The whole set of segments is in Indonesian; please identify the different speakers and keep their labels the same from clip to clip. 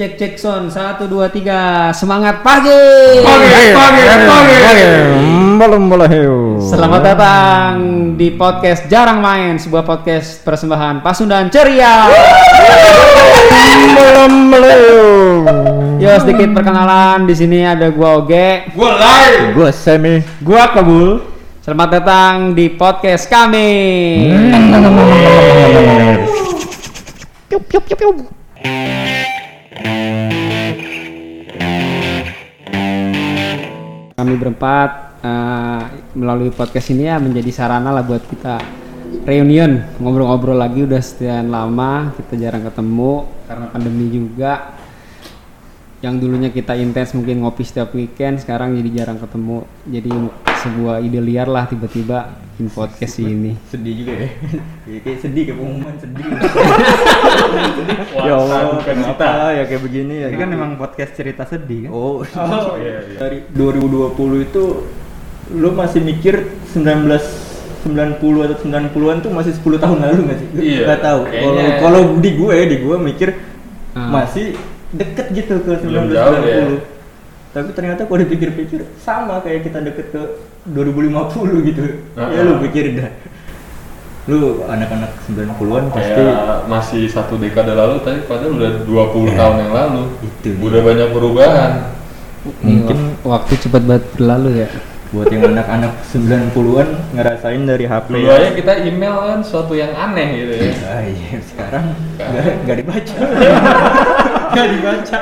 Speaker 1: Cek cek son satu dua tiga semangat pagi.
Speaker 2: Pagi, pagi, pagi.
Speaker 3: Belum boleh.
Speaker 1: Selamat datang di podcast Jarang Main, sebuah podcast persembahan Pasundan Ceria.
Speaker 3: Belum boleh.
Speaker 1: Yo sedikit perkenalan di sini ada gua Oge,
Speaker 2: Gue live.
Speaker 3: Gue semi.
Speaker 1: gua Kabul. Selamat datang di podcast kami. Kami berempat eh, melalui podcast ini ya menjadi sarana lah buat kita reunion, ngobrol-ngobrol lagi udah sekian lama kita jarang ketemu karena pandemi juga. Yang dulunya kita intens mungkin ngopi setiap weekend, sekarang jadi jarang ketemu. Jadi sebuah ide liar lah tiba-tiba bikin podcast ini.
Speaker 2: Sedih juga ya. Kayak sedih kayak pengumuman sedih.
Speaker 3: Ya Allah, kenapa ya kayak begini ya?
Speaker 4: Ini kan memang podcast cerita sedih kan?
Speaker 3: Oh,
Speaker 2: Oh iya iya.
Speaker 4: Dari 2020 itu lu masih mikir 1990 atau 90-an tuh masih 10 tahun lalu nggak sih?
Speaker 2: Iya,
Speaker 4: Nggak tahu. Kalau
Speaker 2: kayaknya.
Speaker 4: kalau di gue, di gue mikir
Speaker 1: Ah.
Speaker 4: masih deket gitu ke
Speaker 2: Belum
Speaker 4: 1990.
Speaker 2: jauh ya.
Speaker 4: Tapi ternyata kalau dipikir-pikir sama kayak kita deket ke 2050 gitu.
Speaker 2: Ah,
Speaker 4: Ya lu
Speaker 2: ah.
Speaker 4: pikir dah. Lu anak-anak 90-an pasti
Speaker 2: Kayak masih satu dekade lalu tapi padahal udah 20 tahun yang lalu.
Speaker 4: Itu dia.
Speaker 2: Udah banyak perubahan.
Speaker 1: Mungkin waktu cepat banget berlalu ya.
Speaker 4: buat yang anak-anak 90-an ngerasain dari HP.
Speaker 2: Dulu aja kita email kan suatu yang aneh gitu ya.
Speaker 4: Ah ya? iya, sekarang nggak nggak dibaca. Nggak dibaca.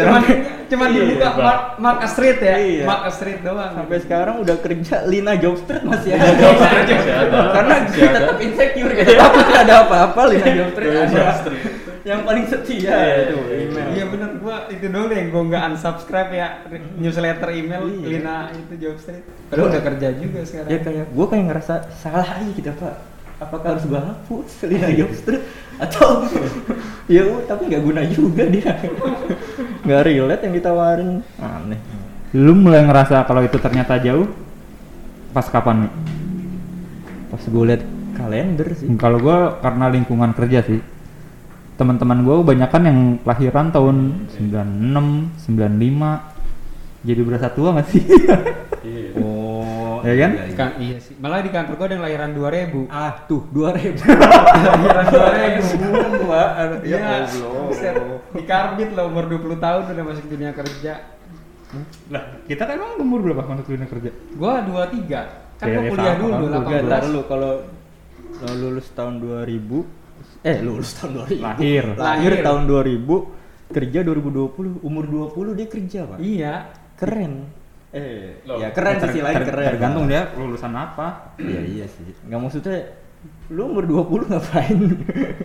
Speaker 1: Cuman cuman
Speaker 2: Iya,
Speaker 1: dibuka
Speaker 2: Pak.
Speaker 1: Mark, Mark Street ya.
Speaker 4: Iya.
Speaker 1: Mark Street doang.
Speaker 4: sampai sekarang udah kerja Lina Jobstreet ya. masih ada.
Speaker 2: Masih ada.
Speaker 4: Karena
Speaker 2: Masih
Speaker 4: gue
Speaker 2: ada.
Speaker 4: tetap insecure kita takut nggak ada apa-apa Lina Jobstreet
Speaker 2: Lina
Speaker 4: ada.
Speaker 2: Jobstreet.
Speaker 4: Yang paling setia
Speaker 2: Iya,
Speaker 4: itu
Speaker 2: iya, iya.
Speaker 4: email.
Speaker 1: Iya bener gua itu dulu yang gua nggak unsubscribe ya newsletter email
Speaker 4: Iya.
Speaker 1: Lina itu Job Iya, Street. Padahal udah kerja juga sekarang.
Speaker 4: Ya kayak gue kayak ngerasa salah aja kita Pak. Apakah harus gue hapus Lina Jobstreet atau ya u- tapi nggak guna juga dia. Nggak relate yang ditawarin. Aneh.
Speaker 5: Lu mulai ngerasa kalau itu ternyata jauh pas kapan Mi?
Speaker 4: Pas gue liat kalender sih.
Speaker 5: Kalau gua karena lingkungan kerja sih. Teman-teman gua kebanyakan yang lahiran tahun 96, 95. Jadi berasa tua gak sih?
Speaker 2: Iya.
Speaker 4: Oh,
Speaker 5: Ya kan?
Speaker 4: iya, iya.
Speaker 1: Kan, iya sih. Malah di kantor gua ada yang lahiran 2000.
Speaker 4: Ah, tuh 2000.
Speaker 1: lahiran 2000.
Speaker 4: Dua,
Speaker 1: Iya. Buset. Di karbit lah umur 20 tahun udah masuk dunia kerja.
Speaker 5: Lah, kita kan emang umur berapa masuk dunia kerja?
Speaker 1: Gua 23. Kan gua
Speaker 5: Iya,
Speaker 1: kuliah
Speaker 5: sama,
Speaker 1: dulu
Speaker 5: sama.
Speaker 4: Enggak, ntar
Speaker 1: 18.
Speaker 4: lu kalau kalau lulus tahun 2000 eh lulus tahun 2000.
Speaker 5: Lahir.
Speaker 4: Lahir,
Speaker 1: Lahir.
Speaker 4: tahun 2000, kerja 2020, umur 20 dia kerja, Pak.
Speaker 1: Iya.
Speaker 4: Keren. Eh,
Speaker 2: Loh.
Speaker 4: ya keren
Speaker 5: Ter-
Speaker 4: sisi lain
Speaker 5: ter-
Speaker 4: keren.
Speaker 5: Tergantung dia lulusan apa.
Speaker 4: Iya, iya sih. Enggak maksudnya lu umur 20 ngapain?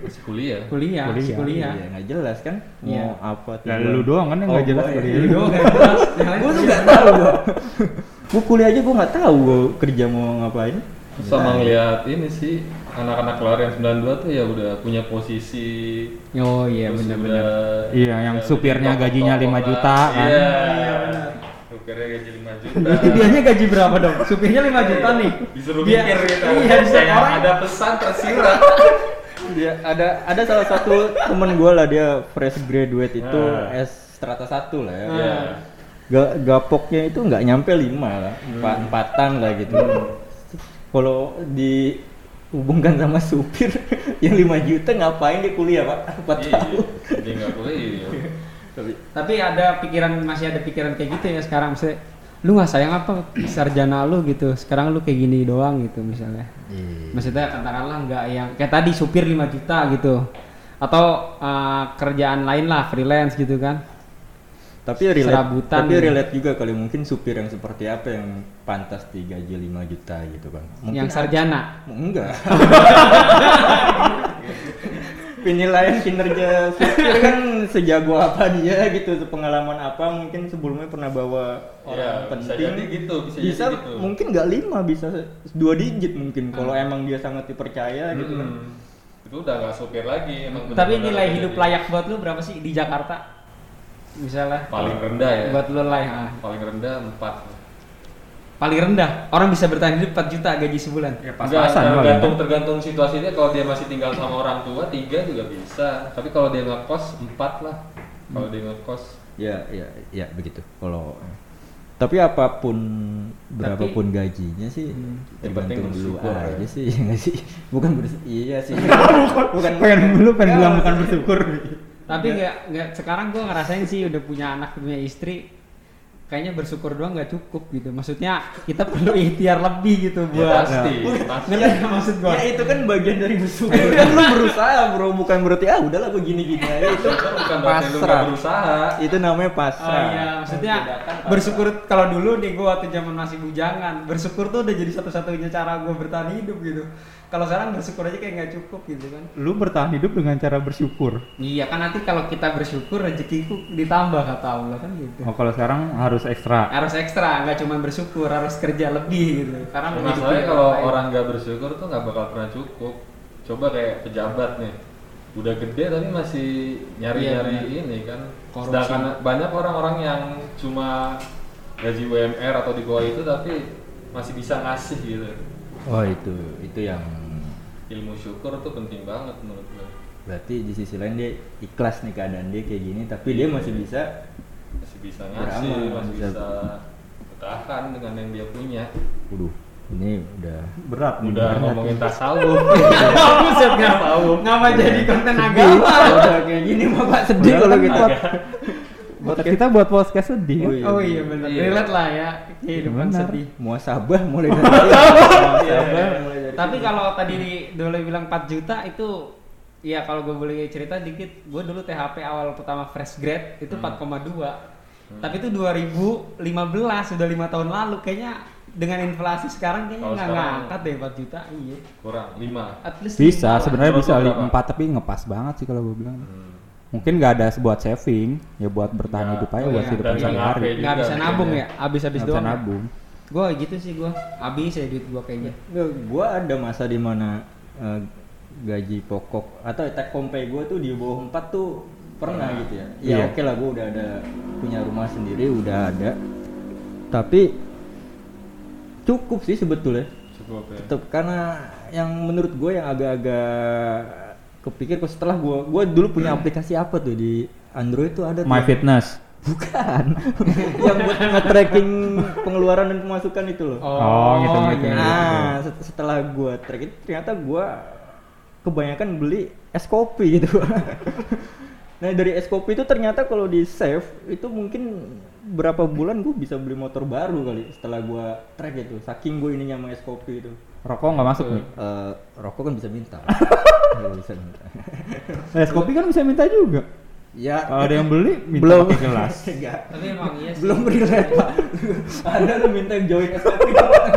Speaker 2: Masih kuliah.
Speaker 1: Kuliah, masih
Speaker 5: Kuliah,
Speaker 1: kuliah.
Speaker 4: Iya, enggak jelas kan mau
Speaker 1: Iya.
Speaker 4: apa
Speaker 5: Ya lu doang kan yang
Speaker 4: Oh,
Speaker 5: nggak jelas
Speaker 4: gua
Speaker 5: dari
Speaker 4: ya.
Speaker 5: lu.
Speaker 1: Lu nggak jelas. Yang lain
Speaker 4: Gue tuh
Speaker 1: kuliah.
Speaker 4: nggak tahu gue. gue kuliah aja gue nggak tahu gue kerja mau ngapain. Iya. Nah.
Speaker 2: Sama ngeliat ini sih anak-anak keluaran 92 tuh ya udah punya posisi
Speaker 1: Oh iya
Speaker 2: Terus
Speaker 1: benar-benar.
Speaker 2: udah-
Speaker 5: Iya, yang
Speaker 2: udah
Speaker 5: supirnya
Speaker 2: jadi
Speaker 5: gajinya
Speaker 2: tokoh-tokoh lah.
Speaker 5: 5 juta, kan?
Speaker 2: Iya.
Speaker 1: Iya, benar.
Speaker 2: Supirnya gaji 5
Speaker 1: Berarti
Speaker 2: juta.
Speaker 1: dianya gaji berapa dong? Supirnya 5 juta nih.
Speaker 2: Disuruh
Speaker 1: Dia-
Speaker 2: mikir gitu.
Speaker 1: Iya, bisa
Speaker 2: Kayak
Speaker 1: orang
Speaker 2: ada pesan tersirat.
Speaker 4: Dia ada ada salah satu temen gue lah dia fresh graduate itu
Speaker 2: Nah.
Speaker 4: S strata satu lah ya.
Speaker 2: Iya.
Speaker 4: Ah. Ga- gapoknya itu nggak nyampe lima lah, empat empatan lah gitu. Kalau dihubungkan sama supir yang 5 juta ngapain dia kuliah pak? Apa
Speaker 2: Iya.
Speaker 4: tahu?
Speaker 2: Dia nggak kuliah.
Speaker 4: Tapi
Speaker 1: Tapi ada pikiran masih ada pikiran kayak gitu ya sekarang misalnya lu nggak sayang apa sarjana lu gitu sekarang lu kayak gini doang gitu misalnya maksudnya katakanlah nggak yang kayak tadi supir 5 juta gitu atau eh, kerjaan lain lah freelance gitu kan
Speaker 4: tapi relate,
Speaker 1: Serabutan.
Speaker 4: tapi relate juga kali mungkin supir yang seperti apa yang pantas digaji 5 juta gitu bang mungkin
Speaker 1: yang sarjana
Speaker 4: enggak penilaian kinerja supir kan sejago apa dia gitu sepengalaman apa mungkin sebelumnya pernah bawa orang
Speaker 2: Iya, bisa
Speaker 4: penting
Speaker 2: jadi gitu, bisa jadi
Speaker 4: Bisa,
Speaker 2: gitu. Hmm.
Speaker 4: mungkin nggak lima bisa dua digit mungkin kalau emang dia sangat dipercaya gitu kan
Speaker 2: Mm-mm. Itu udah nggak supir lagi. Emang
Speaker 1: tapi
Speaker 2: bener-bener
Speaker 1: nilai
Speaker 2: udah
Speaker 1: hidup
Speaker 2: jadi
Speaker 1: layak buat lu berapa sih di Jakarta misalnya
Speaker 2: paling rendah ya.
Speaker 1: buat lu lah ah.
Speaker 2: Paling rendah 4
Speaker 1: paling rendah orang bisa bertahan hidup 4 juta gaji sebulan
Speaker 5: Ya
Speaker 2: Enggak,
Speaker 5: pas-pasan paling.
Speaker 2: tergantung tergantung situasinya kalau dia masih tinggal sama orang tua tiga juga bisa tapi kalau dia ngekos empat lah kalau di ngekos
Speaker 4: Ya, ya, ya begitu. Kalau tapi apapun berapapun gajinya sih
Speaker 2: Hmm. Yang penting
Speaker 4: tergantung lu
Speaker 2: bersyukur
Speaker 4: aja
Speaker 2: ya.
Speaker 4: sih, ya nggak sih? Bukan bersyukur. Iya sih.
Speaker 5: bukan pengen dulu
Speaker 2: Ya,
Speaker 5: pengen bilang bukan bersyukur
Speaker 1: Tapi nggak nggak sekarang gua ngerasain sih udah punya anak punya istri kayaknya bersyukur doang nggak cukup gitu. Maksudnya kita perlu ikhtiar lebih gitu buat
Speaker 2: ya pasti pasti
Speaker 1: ngerti nggak maksud gua?
Speaker 4: ya itu kan bagian dari bersyukur. kan lu berusaha, Bro, bukan berarti ah udahlah gua gini-gini aja itu.
Speaker 2: bukan berarti lu nggak berusaha
Speaker 4: Itu namanya
Speaker 1: Oh
Speaker 4: pasrah.
Speaker 1: iya, maksudnya bersyukur kalau dulu nih gua waktu zaman masih bujangan, bersyukur tuh udah jadi satu-satunya cara gua bertahan hidup gitu. Kalau sekarang bersyukur aja kayak nggak cukup gitu kan.
Speaker 5: lu bertahan hidup dengan cara bersyukur
Speaker 1: Iya kan nanti kalau kita bersyukur rezekiku ditambah kata Allah kan gitu.
Speaker 5: oh kalau sekarang harus ekstra
Speaker 1: Harus ekstra, nggak cuma bersyukur, harus kerja lebih gitu. Karena
Speaker 2: Nah,
Speaker 1: menghidupi
Speaker 2: masalahnya kalau
Speaker 1: lain.
Speaker 2: orang nggak bersyukur tuh nggak bakal pernah cukup coba kayak pejabat nih udah gede tapi masih nyari-nyari
Speaker 1: Iya,
Speaker 2: ini kan
Speaker 1: Korupsi.
Speaker 2: sedangkan banyak orang-orang yang cuma gaji WMR atau di bawah itu tapi masih bisa ngasih gitu
Speaker 4: Oh, itu itu yang
Speaker 2: ilmu syukur tuh penting banget menurut gue
Speaker 4: berarti di sisi lain dia ikhlas nih keadaan dia kayak gini tapi dia masih bisa
Speaker 2: masih bisa
Speaker 1: Ya,
Speaker 2: ngasih
Speaker 4: Beramal,
Speaker 2: masih
Speaker 4: bisa-
Speaker 2: bisa bertahan dengan yang dia punya
Speaker 4: waduh ini udah
Speaker 5: berat nih,
Speaker 2: udah
Speaker 5: berat.
Speaker 1: ya.
Speaker 2: ngomongin tasawuf
Speaker 1: Buset, nggak tahu. Ngapa jadi konten agama?
Speaker 4: udah kayak gini bapak sedih kalau gitu
Speaker 5: Podcast kita buat podcast sedih
Speaker 4: Oh,
Speaker 1: Oh iya benar.
Speaker 2: Iya.
Speaker 1: Relate lah ya kehidupan
Speaker 5: Benar.
Speaker 1: sedih.
Speaker 4: muasabah mulai dari muasabah mulai dari
Speaker 1: Tapi kalau tadi di- dulu bilang 4 juta itu ya kalau gue boleh cerita dikit, gue dulu THP awal pertama fresh grade itu 4,2. Tapi itu 2015 sudah lima tahun lalu kayaknya dengan inflasi sekarang kayaknya
Speaker 2: Kalau
Speaker 1: nggak
Speaker 2: sekarang-
Speaker 1: ngangkat deh 4 juta. Iya.
Speaker 2: kurang lima
Speaker 1: At least lima
Speaker 5: bisa
Speaker 1: lah.
Speaker 5: sebenarnya
Speaker 2: Coba
Speaker 5: bisa
Speaker 2: berapa?
Speaker 5: empat tapi ngepas banget sih kalau gue bilang
Speaker 2: Hmm.
Speaker 5: mungkin nggak ada buat saving ya buat bertahan
Speaker 2: Nggak.
Speaker 5: hidup aja
Speaker 1: Oh,
Speaker 5: buat
Speaker 1: iya.
Speaker 5: hidup
Speaker 2: Dan nggak
Speaker 5: sehari-hari
Speaker 2: ngapain.
Speaker 1: nggak bisa
Speaker 2: juga Iya,
Speaker 1: nabung ya,
Speaker 2: kayaknya.
Speaker 1: habis-habis
Speaker 5: Nggak bisa
Speaker 1: doang.
Speaker 5: nabung
Speaker 1: Gue gitu sih gue, habis ya duit gue kayaknya.
Speaker 4: Nggak, gua ada masa di mana eh, gaji pokok atau take home pay gua tuh di bawah 4 tuh pernah gitu ya ya
Speaker 5: Iya.
Speaker 4: oke lah gua udah ada punya rumah sendiri udah ada tapi cukup sih sebetulnya
Speaker 2: cukup ya
Speaker 4: tetap karena yang menurut gue yang agak-agak kepikir kok setelah gue gue dulu punya aplikasi apa tuh di Android tuh ada tuh
Speaker 5: my
Speaker 4: yang-
Speaker 5: fitness
Speaker 4: bukan yang buat nge-tracking pengeluaran dan pemasukan itu loh
Speaker 5: Oh, gitu, gitu,
Speaker 1: iya.
Speaker 4: nah set- setelah gue track itu ternyata gue kebanyakan beli es kopi gitu nah dari es kopi itu ternyata kalau di save itu mungkin berapa bulan gue bisa beli motor baru kali setelah gue track itu saking gue ininya sama es kopi itu
Speaker 5: rokok nggak masuk nih
Speaker 4: Eh, rokok kan bisa minta. Nggak bisa minta.
Speaker 5: es kopi kan bisa minta juga
Speaker 4: Ya,
Speaker 5: kalau ada yang beli minta
Speaker 4: belum
Speaker 5: pakai gelas
Speaker 4: Nggak.
Speaker 1: Tapi emang iya sih.
Speaker 4: belum relate pak. ada lu minta join es kopi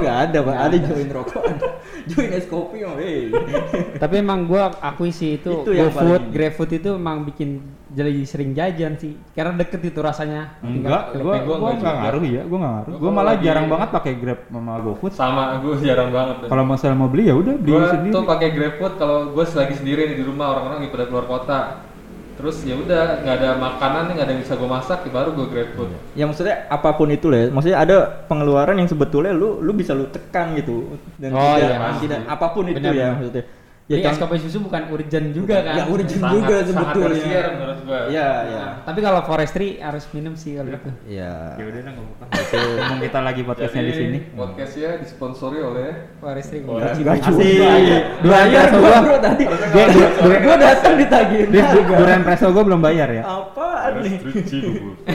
Speaker 4: nggak ada pak. Ada join rokok, ada join es kopi oh hey.
Speaker 1: Tapi emang gua akui sih itu,
Speaker 4: Itu yang
Speaker 1: GoFood,
Speaker 4: paling-
Speaker 1: GrabFood itu emang bikin jadi sering jajan sih. Karena deket itu rasanya.
Speaker 5: enggak
Speaker 2: Tapi
Speaker 5: gua
Speaker 2: gua
Speaker 5: gua
Speaker 2: nggak
Speaker 5: nggak
Speaker 2: juga.
Speaker 5: ngaruh ya gua nggak ngaruh
Speaker 2: Gua
Speaker 5: gua
Speaker 2: kalau
Speaker 5: malah
Speaker 2: lagi-
Speaker 5: jarang banget pakai grab sama gofood
Speaker 2: sama gue jarang banget
Speaker 5: kalau misalnya mau beli ya udah beli
Speaker 2: gue
Speaker 5: sendiri
Speaker 2: tuh pakai GrabFood kalau gue lagi sendiri nih di rumah orang-orang lagi pada keluar kota terus ya udah nggak ada makanan nih nggak ada yang bisa gue masak ya baru gue GrabFood
Speaker 5: Iya.
Speaker 4: Ya maksudnya apapun itu lah. ya. Maksudnya ada pengeluaran yang sebetulnya lu lu bisa lu tekan gitu dan
Speaker 1: Oh,
Speaker 4: tidak,
Speaker 1: iya, pasti.
Speaker 4: tidak apapun itu
Speaker 1: Benar,
Speaker 4: ya
Speaker 1: benar.
Speaker 4: maksudnya.
Speaker 1: Ya,
Speaker 4: Ya,
Speaker 1: es kopi susu bukan urgent juga kan.
Speaker 4: ya urgent
Speaker 2: Sangat-
Speaker 4: juga
Speaker 2: sangat tersier
Speaker 4: sebetulnya.
Speaker 2: menurut gue
Speaker 4: Ya, ya.
Speaker 1: Nah, Tapi kalau forestry harus minum sih kalau gitu. itu.
Speaker 4: Ya.
Speaker 5: ya udah lah nggak apa-apa Mumpung kita lagi podcastnya di sini
Speaker 2: podcastnya disponsori oleh
Speaker 1: Forestry
Speaker 2: Oh,
Speaker 1: gua.
Speaker 4: Gak
Speaker 5: Asik.
Speaker 4: Bayar
Speaker 5: Durian
Speaker 4: Nah, iya, gua
Speaker 5: preso
Speaker 4: bro tadi. Gue gue datang ditagihin.
Speaker 5: Dia durian preso gua belum bayar ya
Speaker 4: Apaan nih?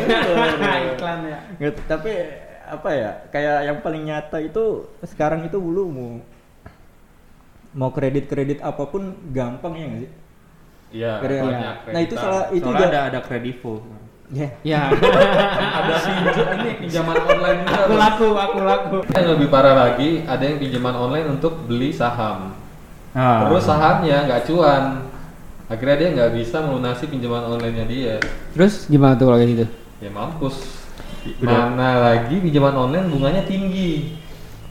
Speaker 1: Iklan ya.
Speaker 4: Nggak, tapi apa ya? Kayak yang paling nyata itu sekarang itu dulu mau mau kredit-kredit apapun gampang ya nggak sih?
Speaker 2: Iya,
Speaker 4: Kredit-
Speaker 2: banyak
Speaker 4: Nah, itu
Speaker 2: kreditan.
Speaker 4: salah itu
Speaker 5: Soalnya
Speaker 4: ga-
Speaker 5: ada ada kredivo
Speaker 4: Ya.
Speaker 1: Ya,
Speaker 2: ada pinjam ini pinjaman online juga
Speaker 1: aku
Speaker 2: Bang.
Speaker 1: laku, aku laku.
Speaker 2: yang lebih parah lagi ada yang pinjaman online untuk beli saham
Speaker 5: Ah.
Speaker 2: terus sahamnya nggak cuan akhirnya dia nggak bisa melunasi pinjaman onlinenya dia
Speaker 1: Terus gimana tuh kalau kayak gitu?
Speaker 2: ya mampus
Speaker 5: Udah.
Speaker 2: mana lagi pinjaman online bunganya tinggi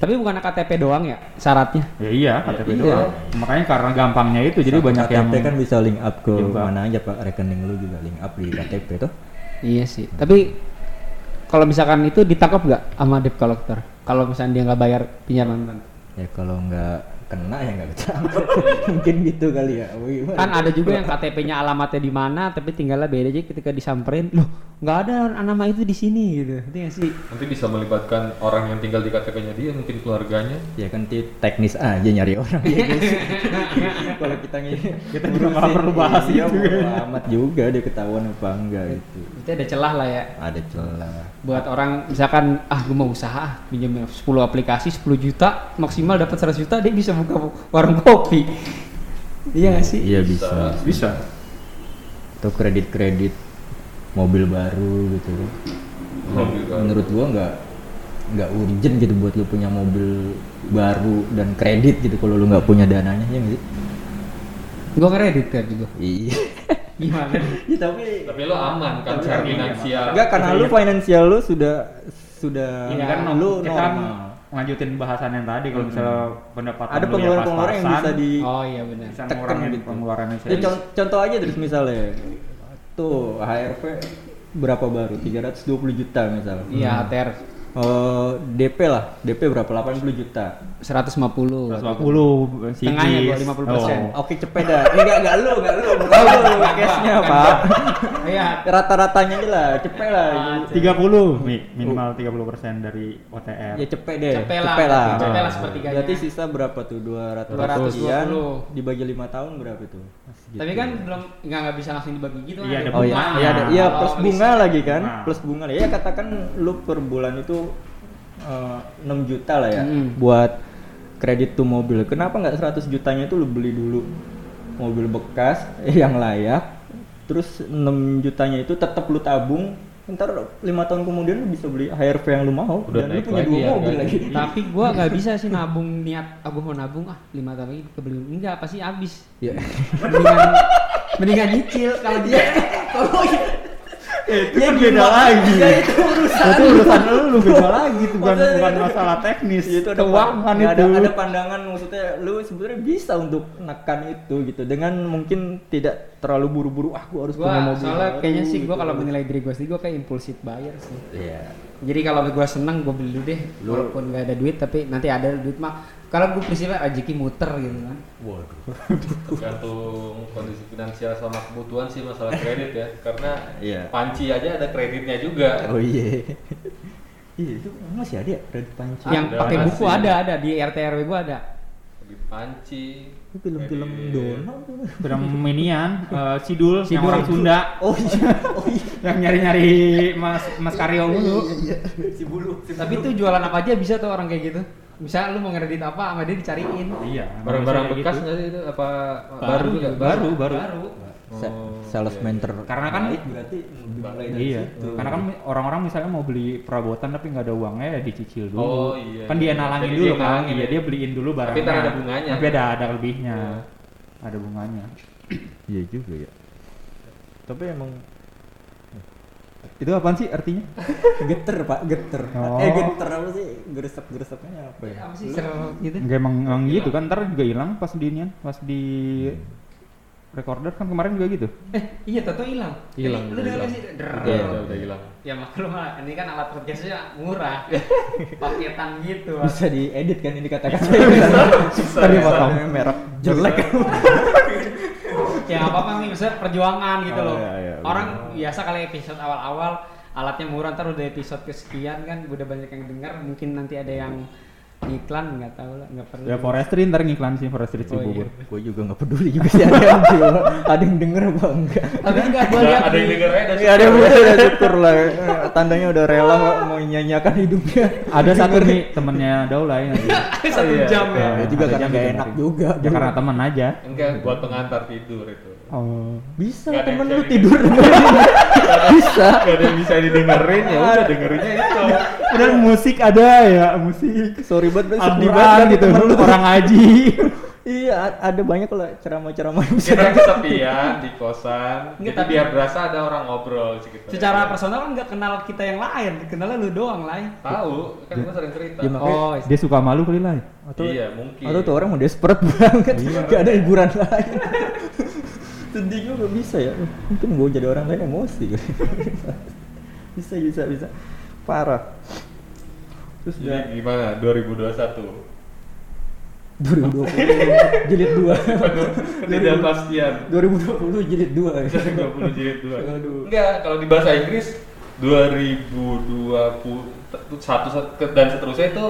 Speaker 1: Tapi bukan KTP doang ya syaratnya.
Speaker 5: Ya iya, KTP
Speaker 2: iya.
Speaker 5: doang. Makanya karena gampangnya itu jadi banyak yang
Speaker 4: KTP kan bisa link up ke
Speaker 5: Iya, Pak.
Speaker 4: mana aja Pak rekening lu juga link up di KTP tuh.
Speaker 1: Iya sih. Tapi kalau misalkan itu ditangkap nggak sama debt collector? Kalau misalkan dia nggak bayar pinjaman
Speaker 4: Ya kalau nggak kena ya nggak kecangkep mungkin gitu kali ya Apa gimana?
Speaker 1: kan ada juga yang KTP-nya alamatnya di mana tapi tinggalnya beda aja ketika disamperin loh nggak ada nama itu di sini gitu itu nggak sih
Speaker 2: Nanti bisa melibatkan orang yang tinggal di KTP-nya dia, mungkin keluarganya.
Speaker 4: ya kan ti- teknis aja nyari orang ya guys kalau kita ngi
Speaker 5: Kita juga nggak perlu bahas
Speaker 4: iya,
Speaker 5: itu.
Speaker 4: bodo amat juga dia ketahuan apa enggak gitu
Speaker 1: itu ada celah lah ya
Speaker 4: ada celah
Speaker 1: buat orang misalkan ah gue mau usaha ah, pinjam 10 aplikasi 10 juta maksimal dapat 100 juta dia bisa buka warung kopi iya nggak sih
Speaker 4: iya bisa
Speaker 3: Bisa.
Speaker 4: atau kredit kredit mobil baru gitu kan
Speaker 2: Mobil baru.
Speaker 4: menurut gua nggak nggak urgent gitu buat lu punya mobil baru dan kredit gitu kalau lu nggak punya dananya ya nggak sih
Speaker 1: gue kredit kan juga
Speaker 4: iya
Speaker 1: gimana
Speaker 4: ya, tapi
Speaker 2: Tapi lo aman kan secara finansial.
Speaker 4: Enggak karena lu finansial lu sudah sudah
Speaker 5: Ini kan
Speaker 4: lu
Speaker 5: lu kita kan
Speaker 4: normal. Hmm.
Speaker 5: lanjutin bahasan yang tadi kalau misalnya pendapatan
Speaker 4: Ada
Speaker 5: lu ya
Speaker 4: pengeluaran-pengeluaran yang bisa
Speaker 5: pas-pasan,
Speaker 4: di
Speaker 1: oh iya benar
Speaker 5: bisa
Speaker 4: tekan
Speaker 5: ngurangin
Speaker 4: gitu.
Speaker 5: pengeluarannya
Speaker 4: Ya,
Speaker 5: sendiri.
Speaker 4: con- contoh aja terus misalnya tuh HRV berapa baru 320 juta misalnya.
Speaker 1: iya HTR
Speaker 4: Eh, DP lah, DP berapa? 80 juta.
Speaker 1: 150
Speaker 5: 150 sih.
Speaker 1: Tengahnya gua 50%.
Speaker 4: Oke cepet dah. Ini enggak enggak lu, enggak lu, bukan lu cashnya Pak.
Speaker 1: iya
Speaker 4: Rata-ratanya aja lah, cepet lah.
Speaker 1: Ah,
Speaker 5: 30
Speaker 4: Oh.
Speaker 5: mi- minimal 30% dari OTR.
Speaker 4: Ya cepet deh,
Speaker 1: Cepet lah, cepet lah sepertiganya.
Speaker 4: Berarti sisa berapa tuh? 200
Speaker 1: 220.
Speaker 4: sekian, dibagi 5 tahun berapa tuh?
Speaker 1: tapi kan belum nggak nggak bisa langsung dibagi gitu
Speaker 5: Iya, ada
Speaker 4: Oh iya,
Speaker 5: bunga.
Speaker 4: iya, ada, iya
Speaker 1: Kalau
Speaker 4: plus
Speaker 1: Oh, bisa-
Speaker 4: bunga lagi kan,
Speaker 5: Bunga.
Speaker 4: plus bunga. Ya katakan lu per bulan itu eh, 6 juta lah ya
Speaker 1: Mm.
Speaker 4: buat kredit tuh mobil. Kenapa nggak 100 jutanya itu lu beli dulu mobil bekas yang layak, terus 6 jutanya itu tetap lu tabung, ntar lima tahun kemudian lu bisa beli HRV yang lu mau
Speaker 2: Udah
Speaker 4: dan lu
Speaker 2: naik
Speaker 4: punya
Speaker 2: lagi
Speaker 4: dua
Speaker 2: ya,
Speaker 4: mobil
Speaker 2: kan?
Speaker 4: lagi.
Speaker 1: tapi gua nggak bisa sih nabung niat ah gua mau nabung ah lima tahun lagi kebeli enggak pasti habis
Speaker 4: Ya.
Speaker 1: mendingan mendingan nyicil kalau dia
Speaker 4: Kalau gitu. Ya,
Speaker 5: itu kan beda lagi.
Speaker 4: itu urusan
Speaker 5: Itu urusan lu, lu beda lagi itu bukan
Speaker 4: Maksudnya
Speaker 5: bukan
Speaker 4: itu- Iya,
Speaker 5: masalah teknis.
Speaker 4: itu ada
Speaker 5: keuangan
Speaker 4: pan-
Speaker 5: itu.
Speaker 4: Ada, ada pandangan maksudnya lu sebenarnya bisa untuk nekan itu gitu dengan mungkin tidak terlalu buru-buru ah gua harus punya
Speaker 1: gua
Speaker 4: mobil
Speaker 1: soalnya
Speaker 4: baru,
Speaker 1: kayaknya sih gua
Speaker 4: gitu.
Speaker 1: kalau menilai diri gua sendiri gua kayak impulsif buyer sih
Speaker 4: Iya.
Speaker 1: jadi kalau gua seneng gua beli dulu deh walaupun nggak ada duit tapi nanti ada duit mah kalau gua prinsipnya rezeki muter gitu kan
Speaker 4: Waduh.
Speaker 2: tergantung kondisi finansial sama kebutuhan sih masalah kredit ya karena
Speaker 4: Iya.
Speaker 2: panci aja ada kreditnya juga
Speaker 4: Oh iya. Iya itu masih ada ya kredit panci.
Speaker 1: yang
Speaker 2: Ada
Speaker 1: pakai buku
Speaker 2: masih.
Speaker 1: ada ada di RT RW gua ada
Speaker 2: kredit panci
Speaker 4: Itu film-film
Speaker 2: kredit-
Speaker 4: Dono tuh.
Speaker 5: Film minian, eh, Sidul, yang
Speaker 1: Sidul.
Speaker 5: orang Sunda
Speaker 4: Oh iya. Oh iya.
Speaker 5: yang nyari-nyari Mas Mas Karyo dulu.
Speaker 4: Si bulu. Si
Speaker 1: tapi tuh jualan apa aja bisa tuh orang kayak gitu bisa lu mau ngedit apa sama dia dicariin
Speaker 5: Iya.
Speaker 2: barang-barang
Speaker 5: biasanya
Speaker 2: bekas
Speaker 5: gitu.
Speaker 2: nggak sih itu apa
Speaker 5: baru
Speaker 2: juga?
Speaker 5: baru baru.
Speaker 1: baru
Speaker 4: salesman ter.
Speaker 5: Karena kan
Speaker 4: Baik, Oh, iya, berarti mulai dari
Speaker 5: Iya,
Speaker 4: situ.
Speaker 5: karena kan orang-orang misalnya mau beli perabotan tapi nggak ada uangnya ya dicicil dulu.
Speaker 2: Oh, iya,
Speaker 5: Kan
Speaker 2: iya.
Speaker 5: dia nalangin
Speaker 2: Jadi
Speaker 5: dulu
Speaker 2: dia
Speaker 5: kan,
Speaker 2: nalangin
Speaker 5: iya
Speaker 2: ya.
Speaker 5: dia beliin dulu barangnya.
Speaker 2: ntar ada bunganya.
Speaker 5: Tapi ada ada lebihnya.
Speaker 2: Iya.
Speaker 5: Ada bunganya.
Speaker 4: Iya juga ya. Tapi emang
Speaker 5: Itu apaan sih artinya?
Speaker 4: geter pak geter
Speaker 5: Oh.
Speaker 4: eh geter apa sih geresep geresepnya apa ya
Speaker 1: apa sih ser gitu
Speaker 5: Enggak emang, emang gitu kan, ntar juga hilang pas di inian, pas di
Speaker 4: Iya.
Speaker 5: recorder kan kemarin juga gitu.
Speaker 1: eh iya tato hilang lu
Speaker 2: Hilang, Iya, udah
Speaker 1: dengar
Speaker 2: hilang.
Speaker 1: sih Der.
Speaker 2: udah udah, udah hilang
Speaker 1: ya maklum lah ini kan alat podcastnya murah paketan gitu
Speaker 4: bisa diedit kan ini kata-kata
Speaker 5: Tadi potong.
Speaker 4: merek jelek
Speaker 1: ya nggak apa-apa nih misalnya perjuangan gitu
Speaker 4: Oh,
Speaker 1: loh
Speaker 4: iya, iya,
Speaker 1: orang biasa kali episode awal-awal alatnya murah ntar udah episode kesekian kan udah banyak yang dengar mungkin nanti ada yang iklan nggak tahu lah nggak perlu
Speaker 5: Ya forestry ntar ngiklan sih forestry
Speaker 1: Oh,
Speaker 5: Cibubur.
Speaker 4: gue juga nggak peduli juga sih ada yang jual ada yang denger apa enggak
Speaker 1: tapi nggak gua
Speaker 2: Udah,
Speaker 1: lihat
Speaker 2: ada yang
Speaker 1: di-
Speaker 2: dengernya ada
Speaker 4: Iya ada yang udah udah syukur lah Eh, tandanya udah rela kok mau nyanyiakan hidupnya
Speaker 5: Ada satu nih temennya Daulay nanti.
Speaker 1: satu jam ya
Speaker 4: ya juga
Speaker 5: Ada
Speaker 4: karena
Speaker 5: jam
Speaker 4: nggak
Speaker 5: dengerin.
Speaker 4: enak juga
Speaker 5: Ya karena teman aja.
Speaker 2: enggak buat pengantar tidur itu
Speaker 5: Oh.
Speaker 4: bisa
Speaker 2: Nggak ada
Speaker 4: temen
Speaker 2: yang gitu.
Speaker 4: lu
Speaker 2: sharing.
Speaker 4: tidur bisa
Speaker 2: gak ada yang bisa didengerin ya udah dengerinnya itu
Speaker 5: Dan musik ada ya, musik.
Speaker 4: sorry banget
Speaker 5: Al
Speaker 4: sedih banget dari
Speaker 5: gitu,
Speaker 4: temen lu.
Speaker 5: orang ngaji.
Speaker 4: iya a- ada banyak lah ceramah-ceramah yang bisa
Speaker 2: kita kesepian di kosan
Speaker 1: Nggak,
Speaker 2: jadi
Speaker 1: tapi-
Speaker 2: biar berasa ada orang ngobrol sekitar Iya.
Speaker 1: secara personal kan nggak kenal kita yang lain kenalnya lu doang lain
Speaker 2: tahu kan gue sering cerita
Speaker 4: Ya, makanya-
Speaker 1: oh
Speaker 5: Dia suka malu kali lah.
Speaker 4: atau
Speaker 2: iya mungkin
Speaker 4: Atau tuh orang mau desperate banget,
Speaker 5: Iya.
Speaker 4: gak ada hiburan lain. Sedih juga bisa ya. Mungkin gue jadi orang lain emosi. bisa bisa bisa. Parah. Terus
Speaker 5: Iya.
Speaker 2: Jadi
Speaker 4: udah
Speaker 2: gimana 2021?
Speaker 4: 2020 jilid 2
Speaker 2: Ketidakpastian.
Speaker 4: 2020 jilid 2
Speaker 2: 20 jilid 2.
Speaker 4: Aduh.
Speaker 2: Enggak, kalau di bahasa Inggris 2021 set- dan seterusnya itu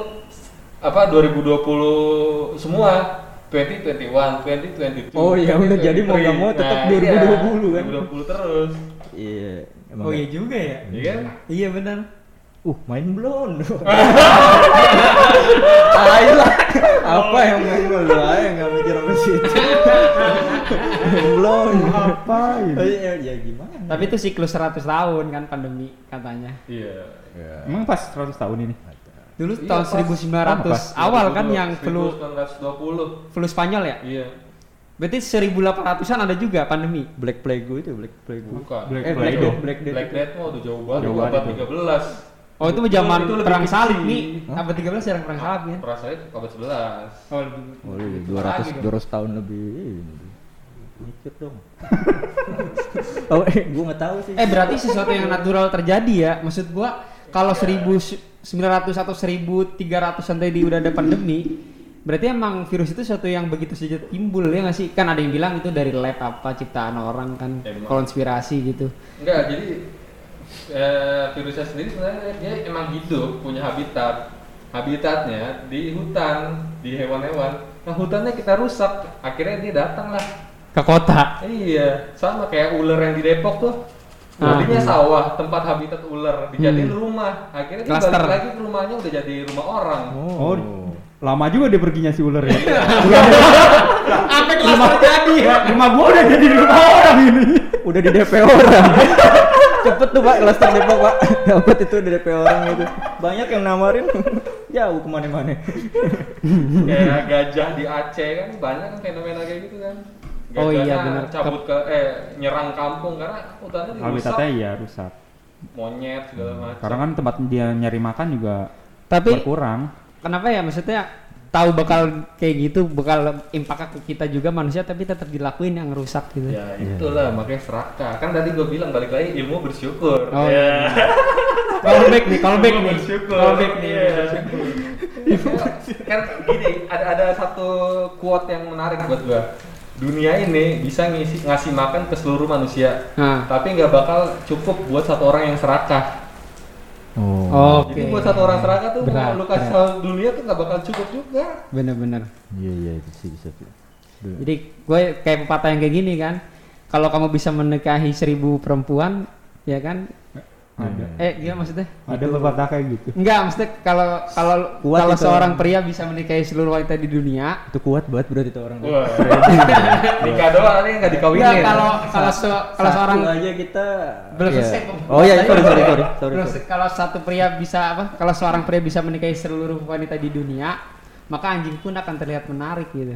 Speaker 2: apa 2020 semua 2021, 2022.
Speaker 4: Oh, iya, udah, jadi mau nggak mau tetap
Speaker 2: Nah,
Speaker 4: 2020
Speaker 2: iya,
Speaker 4: kan?
Speaker 2: 2020 terus.
Speaker 4: Iya. emang
Speaker 5: Oh iya juga ya.
Speaker 2: Iya kan?
Speaker 4: Iya benar. Uh, main blown.
Speaker 3: Ayolah. Apa yang
Speaker 5: Iya.
Speaker 3: main lu? Ayo enggak mikir apa sih. Belum apa
Speaker 4: Oh, iya, ya gimana?
Speaker 1: Tapi itu siklus 100 tahun kan pandemi katanya.
Speaker 2: Iya.
Speaker 5: Emang pas 100 tahun ini.
Speaker 1: Dulu
Speaker 2: Iya,
Speaker 1: tahun
Speaker 2: pas.
Speaker 1: 1900 awal kan yang flu
Speaker 2: 1920.
Speaker 1: flu Spanyol ya.
Speaker 2: Iya.
Speaker 1: Berarti 1800-an ada juga pandemi.
Speaker 4: Black Plague gue itu Black Plague. gue.
Speaker 2: Bukan.
Speaker 5: Black
Speaker 4: Eh, Black
Speaker 5: Plague.
Speaker 4: Death, Black Death.
Speaker 2: Black Death mah udah jauh banget,
Speaker 5: Jauh
Speaker 2: abad
Speaker 5: banget itu.
Speaker 2: 13.
Speaker 1: Oh itu
Speaker 2: Itu-
Speaker 1: zaman
Speaker 2: itu lebih
Speaker 1: perang
Speaker 2: kecil.
Speaker 1: salib nih. Abad 13 jarang perang salib kan.
Speaker 2: Perang salib abad 11.
Speaker 1: Oh, lebih-
Speaker 4: Oh, iya,
Speaker 2: Itu
Speaker 4: 200
Speaker 2: lagi dong.
Speaker 4: 200 tahun lebih. Mikir dong. oh, eh, gue nggak tahu sih.
Speaker 1: Eh berarti sesuatu yang natural terjadi ya. Maksud gua kalau
Speaker 2: Iya.
Speaker 1: 1900 atau 1300 an tadi udah ada pandemi, berarti emang virus itu sesuatu yang begitu saja timbul ya nggak sih? Kan ada yang bilang itu dari lab apa ciptaan orang kan
Speaker 2: Emang.
Speaker 1: konspirasi gitu.
Speaker 2: Enggak, jadi eh, virusnya sendiri sebenarnya dia emang hidup, punya habitat. Habitatnya di hutan, di hewan-hewan. Nah hutannya kita rusak, akhirnya dia datang lah.
Speaker 1: Ke kota.
Speaker 2: Iya, sama kayak ular yang di Depok tuh.
Speaker 1: Ah. Hmm.
Speaker 2: Tadinya sawah, tempat habitat ular, dijadiin rumah. Akhirnya dia
Speaker 1: Cluster.
Speaker 2: balik lagi ke rumahnya udah jadi rumah orang.
Speaker 5: Oh. Lama juga dia perginya si ular ya. Iya,
Speaker 1: Apa kelas terjadi ya?
Speaker 5: rumah gua udah jadi rumah orang ini.
Speaker 4: Udah di DP orang. Cepet tuh pak, klaster Depok pak. Dapat itu di DP orang itu. Banyak yang nawarin. Jauh kemana-mana.
Speaker 2: kayak gajah di Aceh kan banyak kan fenomena kayak gitu kan. Gajahnya
Speaker 1: Oh iya, benar.
Speaker 2: cabut ke eh nyerang kampung karena hutannya dirusak.
Speaker 5: Habitatnya iya rusak.
Speaker 2: Monyet segala macam.
Speaker 5: Karena kan tempat dia nyari makan juga
Speaker 1: Tapi
Speaker 5: berkurang.
Speaker 1: kenapa ya maksudnya tahu bakal kayak gitu bakal impact ke kita juga manusia tapi tetap dilakuin yang rusak gitu.
Speaker 2: Ya itulah makanya serakah. Kan tadi gue bilang balik lagi ilmu bersyukur.
Speaker 1: Oh,
Speaker 2: Ya.
Speaker 1: Callback nih, callback
Speaker 2: Ilmu
Speaker 1: nih.
Speaker 2: Bersyukur.
Speaker 1: Callback nih.
Speaker 2: Iya. kan gini ada ada satu quote yang menarik buat gue. Dunia ini bisa ngisi, ngasih makan ke seluruh manusia,
Speaker 1: Nah.
Speaker 2: tapi nggak bakal cukup buat satu orang yang serakah.
Speaker 3: Oh.
Speaker 1: Oke.
Speaker 2: Jadi buat satu orang serakah tuh
Speaker 1: Berat,
Speaker 2: lu kasih
Speaker 1: berat.
Speaker 2: tahu dunia tuh nggak bakal cukup juga.
Speaker 1: Bener-bener.
Speaker 3: Iya iya itu sih bisa. tuh.
Speaker 1: Jadi gue kayak pepatah yang kayak gini kan. Kalau kamu bisa menikahi seribu perempuan, ya kan?
Speaker 5: Ada.
Speaker 2: Hmm.
Speaker 1: Eh, gimana maksudnya?
Speaker 5: Ada pepatah kayak gitu.
Speaker 1: Enggak, maksudnya kalau kalau
Speaker 4: Kuat
Speaker 1: kalau
Speaker 4: itu.
Speaker 1: seorang pria bisa menikahi seluruh wanita di dunia.
Speaker 4: Itu kuat banget berarti itu orang.
Speaker 2: Wah. Nikah doang nih nggak dikawinin.
Speaker 1: Enggak, kalau kalau se- kalau
Speaker 4: Satu
Speaker 1: seorang
Speaker 4: aja kita
Speaker 1: belum
Speaker 4: Iya.
Speaker 1: selesai.
Speaker 4: Oh iya, sorry sorry sorry. sorry,
Speaker 1: Belum
Speaker 4: sorry.
Speaker 1: se- Kalau satu pria bisa apa? Kalau seorang pria bisa menikahi seluruh wanita di dunia, maka anjing pun akan terlihat menarik gitu.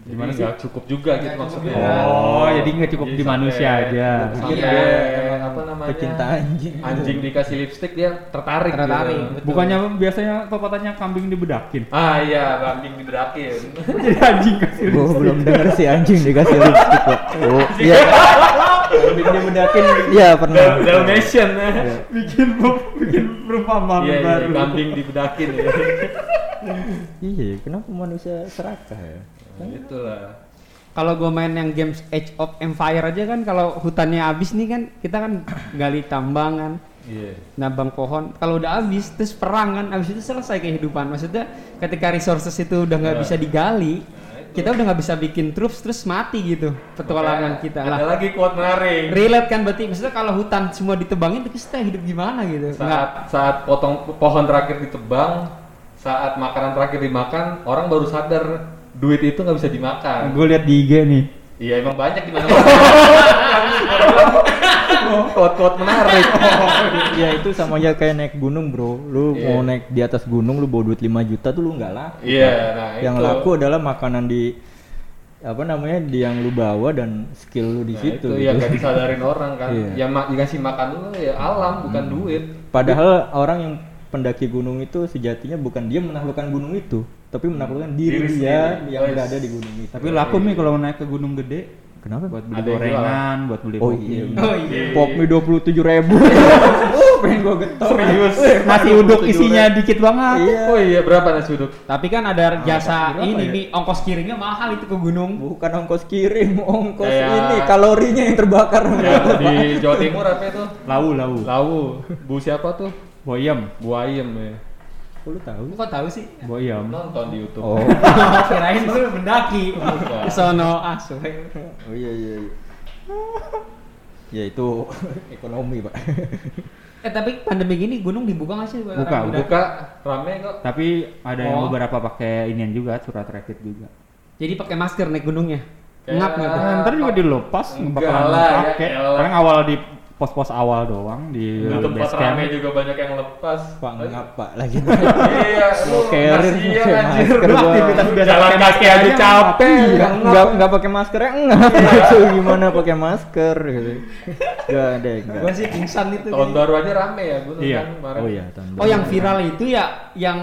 Speaker 2: Gimana sih? Gak cukup juga gitu maksudnya.
Speaker 5: Oh, jadi nggak cukup di
Speaker 2: sampai-
Speaker 5: manusia aja.
Speaker 2: Sampai
Speaker 1: Iya.
Speaker 2: emang apa namanya?
Speaker 4: Pecinta anjing.
Speaker 2: Anjing dikasih lipstick dia tertarik.
Speaker 1: Tertarik,
Speaker 2: gitu.
Speaker 1: betul.
Speaker 5: Bukannya biasanya pepatahnya kambing dibedakin.
Speaker 2: Ah iya, kambing diberakin.
Speaker 5: Jadi anjing kan kasih
Speaker 4: Gue belum dengar si anjing dikasih lipstick pak. Oh iya. Kambing dia mendakin. Iya pernah.
Speaker 2: Dalmatian ya.
Speaker 5: bikin bikin perumpamaan
Speaker 2: Iya, iya,
Speaker 5: baru.
Speaker 2: kambing dibedakin ya.
Speaker 4: Iya kenapa manusia serakah ya?
Speaker 2: Gitu lah.
Speaker 1: Kalau gue main yang games Age of Empire aja kan, kalau hutannya habis nih kan, kita kan gali tambang kan,
Speaker 2: Iya.
Speaker 1: nabang pohon. Kalau udah habis, terus perang kan, habis itu selesai kehidupan. Maksudnya ketika resources itu udah nggak
Speaker 4: Iya.
Speaker 2: Ya.
Speaker 1: bisa digali,
Speaker 2: Nah, itu.
Speaker 1: kita udah nggak bisa bikin troops terus mati gitu petualangan
Speaker 2: Makanya
Speaker 1: kita Nah,
Speaker 2: Ada
Speaker 1: lah.
Speaker 2: lagi kuat menarik.
Speaker 1: Relate kan berarti maksudnya kalau hutan semua ditebangin terus kita hidup gimana gitu? Nggak.
Speaker 2: saat saat potong pohon terakhir ditebang saat makanan terakhir dimakan orang baru sadar duit itu nggak bisa dimakan
Speaker 5: Gue lihat di IG nih.
Speaker 2: iya emang banyak di mana kuat kuat menarik
Speaker 4: ya itu sama aja kayak naik gunung bro. Lu
Speaker 2: Iya.
Speaker 4: mau naik di atas gunung lu bawa duit 5 juta tuh lu nggak laku.
Speaker 2: iya nah
Speaker 4: yang
Speaker 2: itu.
Speaker 4: laku adalah makanan di apa namanya di yang lu bawa dan skill lu di
Speaker 2: Nah, itu
Speaker 4: situ.
Speaker 2: ya
Speaker 4: gitu.
Speaker 2: nggak disadarin orang kan
Speaker 4: Iya. Hmm.
Speaker 2: yang ma- dikasih makan lu ya alam bukan duit
Speaker 4: Padahal orang yang pendaki gunung itu sejatinya bukan dia menaklukkan gunung itu, tapi menaklukkan diri,
Speaker 2: Diri
Speaker 4: dia
Speaker 2: sendiri.
Speaker 4: yang
Speaker 2: Wes.
Speaker 4: berada di gunung itu.
Speaker 5: Tapi laku nih kalau naik ke gunung gede
Speaker 4: Kenapa?
Speaker 5: buat beli
Speaker 2: Iya, Ada yang
Speaker 5: gorengan, buat beli
Speaker 4: Oh
Speaker 5: kopi.
Speaker 4: iya.
Speaker 1: Oh iya.
Speaker 4: Pop mie dua puluh tujuh ribu. Oh, pengen gue getok
Speaker 5: Serius. Nasi Eh, uduk isinya dikit banget.
Speaker 4: Iya.
Speaker 2: Oh iya, berapa nasi uduk?
Speaker 1: Tapi kan ada jasa
Speaker 4: berapa
Speaker 1: ini
Speaker 4: ya?
Speaker 1: Mi, ongkos kirimnya mahal itu ke gunung.
Speaker 4: Bukan ongkos kirim, ongkos
Speaker 2: Kayak-
Speaker 4: ini kalorinya yang terbakar.
Speaker 2: Ya, di Jawa Timur apa itu?
Speaker 5: Lau lau.
Speaker 2: Lawu. Bu siapa tuh?
Speaker 5: Boyem.
Speaker 2: Bu Ayem ya.
Speaker 4: Oh, Lu tahu?
Speaker 1: Lu kok tahu sih?
Speaker 5: Boyem.
Speaker 2: Nonton di YouTube.
Speaker 4: Oh.
Speaker 1: Kirain lu mendaki.
Speaker 2: Bukan.
Speaker 1: Sono ah, asu.
Speaker 4: Oh iya iya. iya. ya itu ekonomi, Pak.
Speaker 1: Eh tapi pandemi gini gunung dibuka nggak sih? buat
Speaker 5: Buka,
Speaker 1: orang muda?
Speaker 2: Buka rame kok.
Speaker 5: Tapi ada yang
Speaker 1: Oh.
Speaker 5: beberapa pakai inian juga surat rapid juga.
Speaker 1: Jadi pakai masker naik gunungnya.
Speaker 2: Kayak-
Speaker 1: Ngap nggak tuh?
Speaker 2: Ah,
Speaker 5: Nah, ntar juga
Speaker 2: Pak.
Speaker 5: dilepas
Speaker 2: Enggak
Speaker 5: bakalan
Speaker 2: lah, ya
Speaker 5: pakai.
Speaker 2: elah.
Speaker 5: Paling awal di pos-pos awal doang di
Speaker 2: Di tempat
Speaker 5: base camp.
Speaker 2: rame juga banyak yang lepas.
Speaker 4: Iya, Pak ngap, Pak lagi.
Speaker 2: Iya, lu
Speaker 4: Carrier
Speaker 2: kasihan
Speaker 4: pakai
Speaker 2: anjir.
Speaker 4: masker
Speaker 5: Lu
Speaker 4: gua.
Speaker 5: aktivitas biasa
Speaker 2: Jalan
Speaker 5: pakai
Speaker 2: kaki
Speaker 5: masker
Speaker 2: aja
Speaker 5: aja
Speaker 2: capek.
Speaker 4: Iya,
Speaker 2: ngap.
Speaker 4: enggak enggak pakai masker ya enggak. Itu gimana pakai masker gitu. Enggak deh,
Speaker 1: Gua
Speaker 4: enggak.
Speaker 1: sih pingsan itu.
Speaker 2: Tahun baru aja rame ya gunung
Speaker 5: Iya.
Speaker 2: kan kemarin.
Speaker 4: Oh iya, tahun
Speaker 1: Oh
Speaker 4: baru.
Speaker 1: yang viral itu ya yang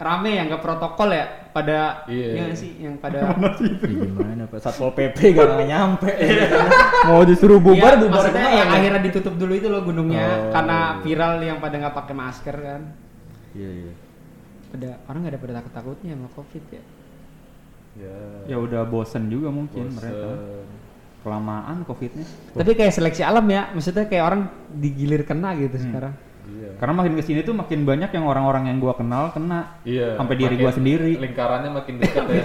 Speaker 1: rame yang nggak protokol ya pada
Speaker 2: Iya.
Speaker 1: iya nggak sih yang pada
Speaker 4: Ih, Iya, Gimana Pak? Satpol PP enggak nyampe. Mau disuruh
Speaker 1: Iya,
Speaker 4: bubar bubar
Speaker 1: maksudnya
Speaker 4: kemana?
Speaker 1: yang akhirnya ditutup dulu itu loh gunungnya
Speaker 4: Oh,
Speaker 1: karena
Speaker 4: iya.
Speaker 1: viral yang pada nggak pakai masker kan
Speaker 4: Iya, iya.
Speaker 1: pada orang nggak ada pada takut takutnya sama covid ya
Speaker 2: Ya.
Speaker 5: Ya udah bosen juga mungkin mereka.
Speaker 2: bosen.
Speaker 5: Kelamaan covidnya.
Speaker 1: tapi kayak seleksi alam ya maksudnya kayak orang digilir kena gitu
Speaker 4: Hmm.
Speaker 1: sekarang
Speaker 2: Iya.
Speaker 5: Karena makin kesini tuh makin banyak yang orang-orang yang gua kenal kena.
Speaker 2: Iya.
Speaker 5: Sampai diri
Speaker 2: makin
Speaker 5: gua sendiri.
Speaker 2: Lingkarannya makin dekat ya.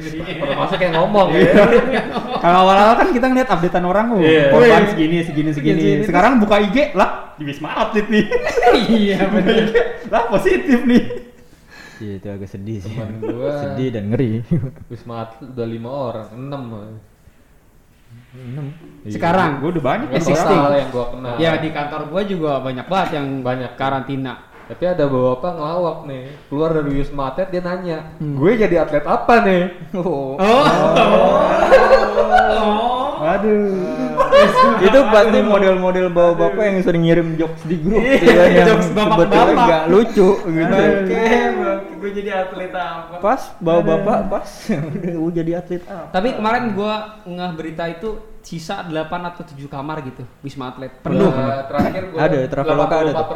Speaker 2: Iya. Termasuk yang ngomong ya.
Speaker 1: Iya.
Speaker 5: Kalau awal-awal kan kita ngeliat updatean orang tuh,
Speaker 2: Iya.
Speaker 5: korban
Speaker 1: Wih.
Speaker 5: segini, segini, segini.
Speaker 1: Segini,
Speaker 5: Sekarang buka IG lah, di wisma atlet nih.
Speaker 1: iya bener
Speaker 5: lah positif nih.
Speaker 4: Iya, itu agak sedih sih.
Speaker 2: Temen gua.
Speaker 4: Sedih dan ngeri.
Speaker 2: Wisma Atlet udah lima orang, enam.
Speaker 1: Iya. sekarang
Speaker 5: Gue udah banyak.
Speaker 1: Eh,
Speaker 2: Enggak
Speaker 1: sixteen.
Speaker 2: total yang gua kenal.
Speaker 1: ya di kantor gua juga banyak banget yang
Speaker 2: Banyak.
Speaker 1: karantina
Speaker 2: Tapi ada bapak ngelawak nih. Keluar dari Wisma Atlet dia nanya, "Gue jadi atlet apa nih?"
Speaker 4: Oh.
Speaker 5: Aduh.
Speaker 4: itu pasti model-model bawa bapak yang sering ngirim jokes di grup
Speaker 1: Iya,
Speaker 4: gitu kan, yang
Speaker 1: jokes bapak-bapak.
Speaker 4: sebetulnya nggak lucu gitu
Speaker 1: gue jadi atlet apa
Speaker 4: pas bawa bapak pas Oh. udah gua jadi atlet apa
Speaker 1: tapi kemarin gua ngeh berita itu sisa 8 atau 7 kamar gitu Wisma Atlet penuh
Speaker 2: Nah, terakhir gua
Speaker 4: Ada, Traveloka ada tuh.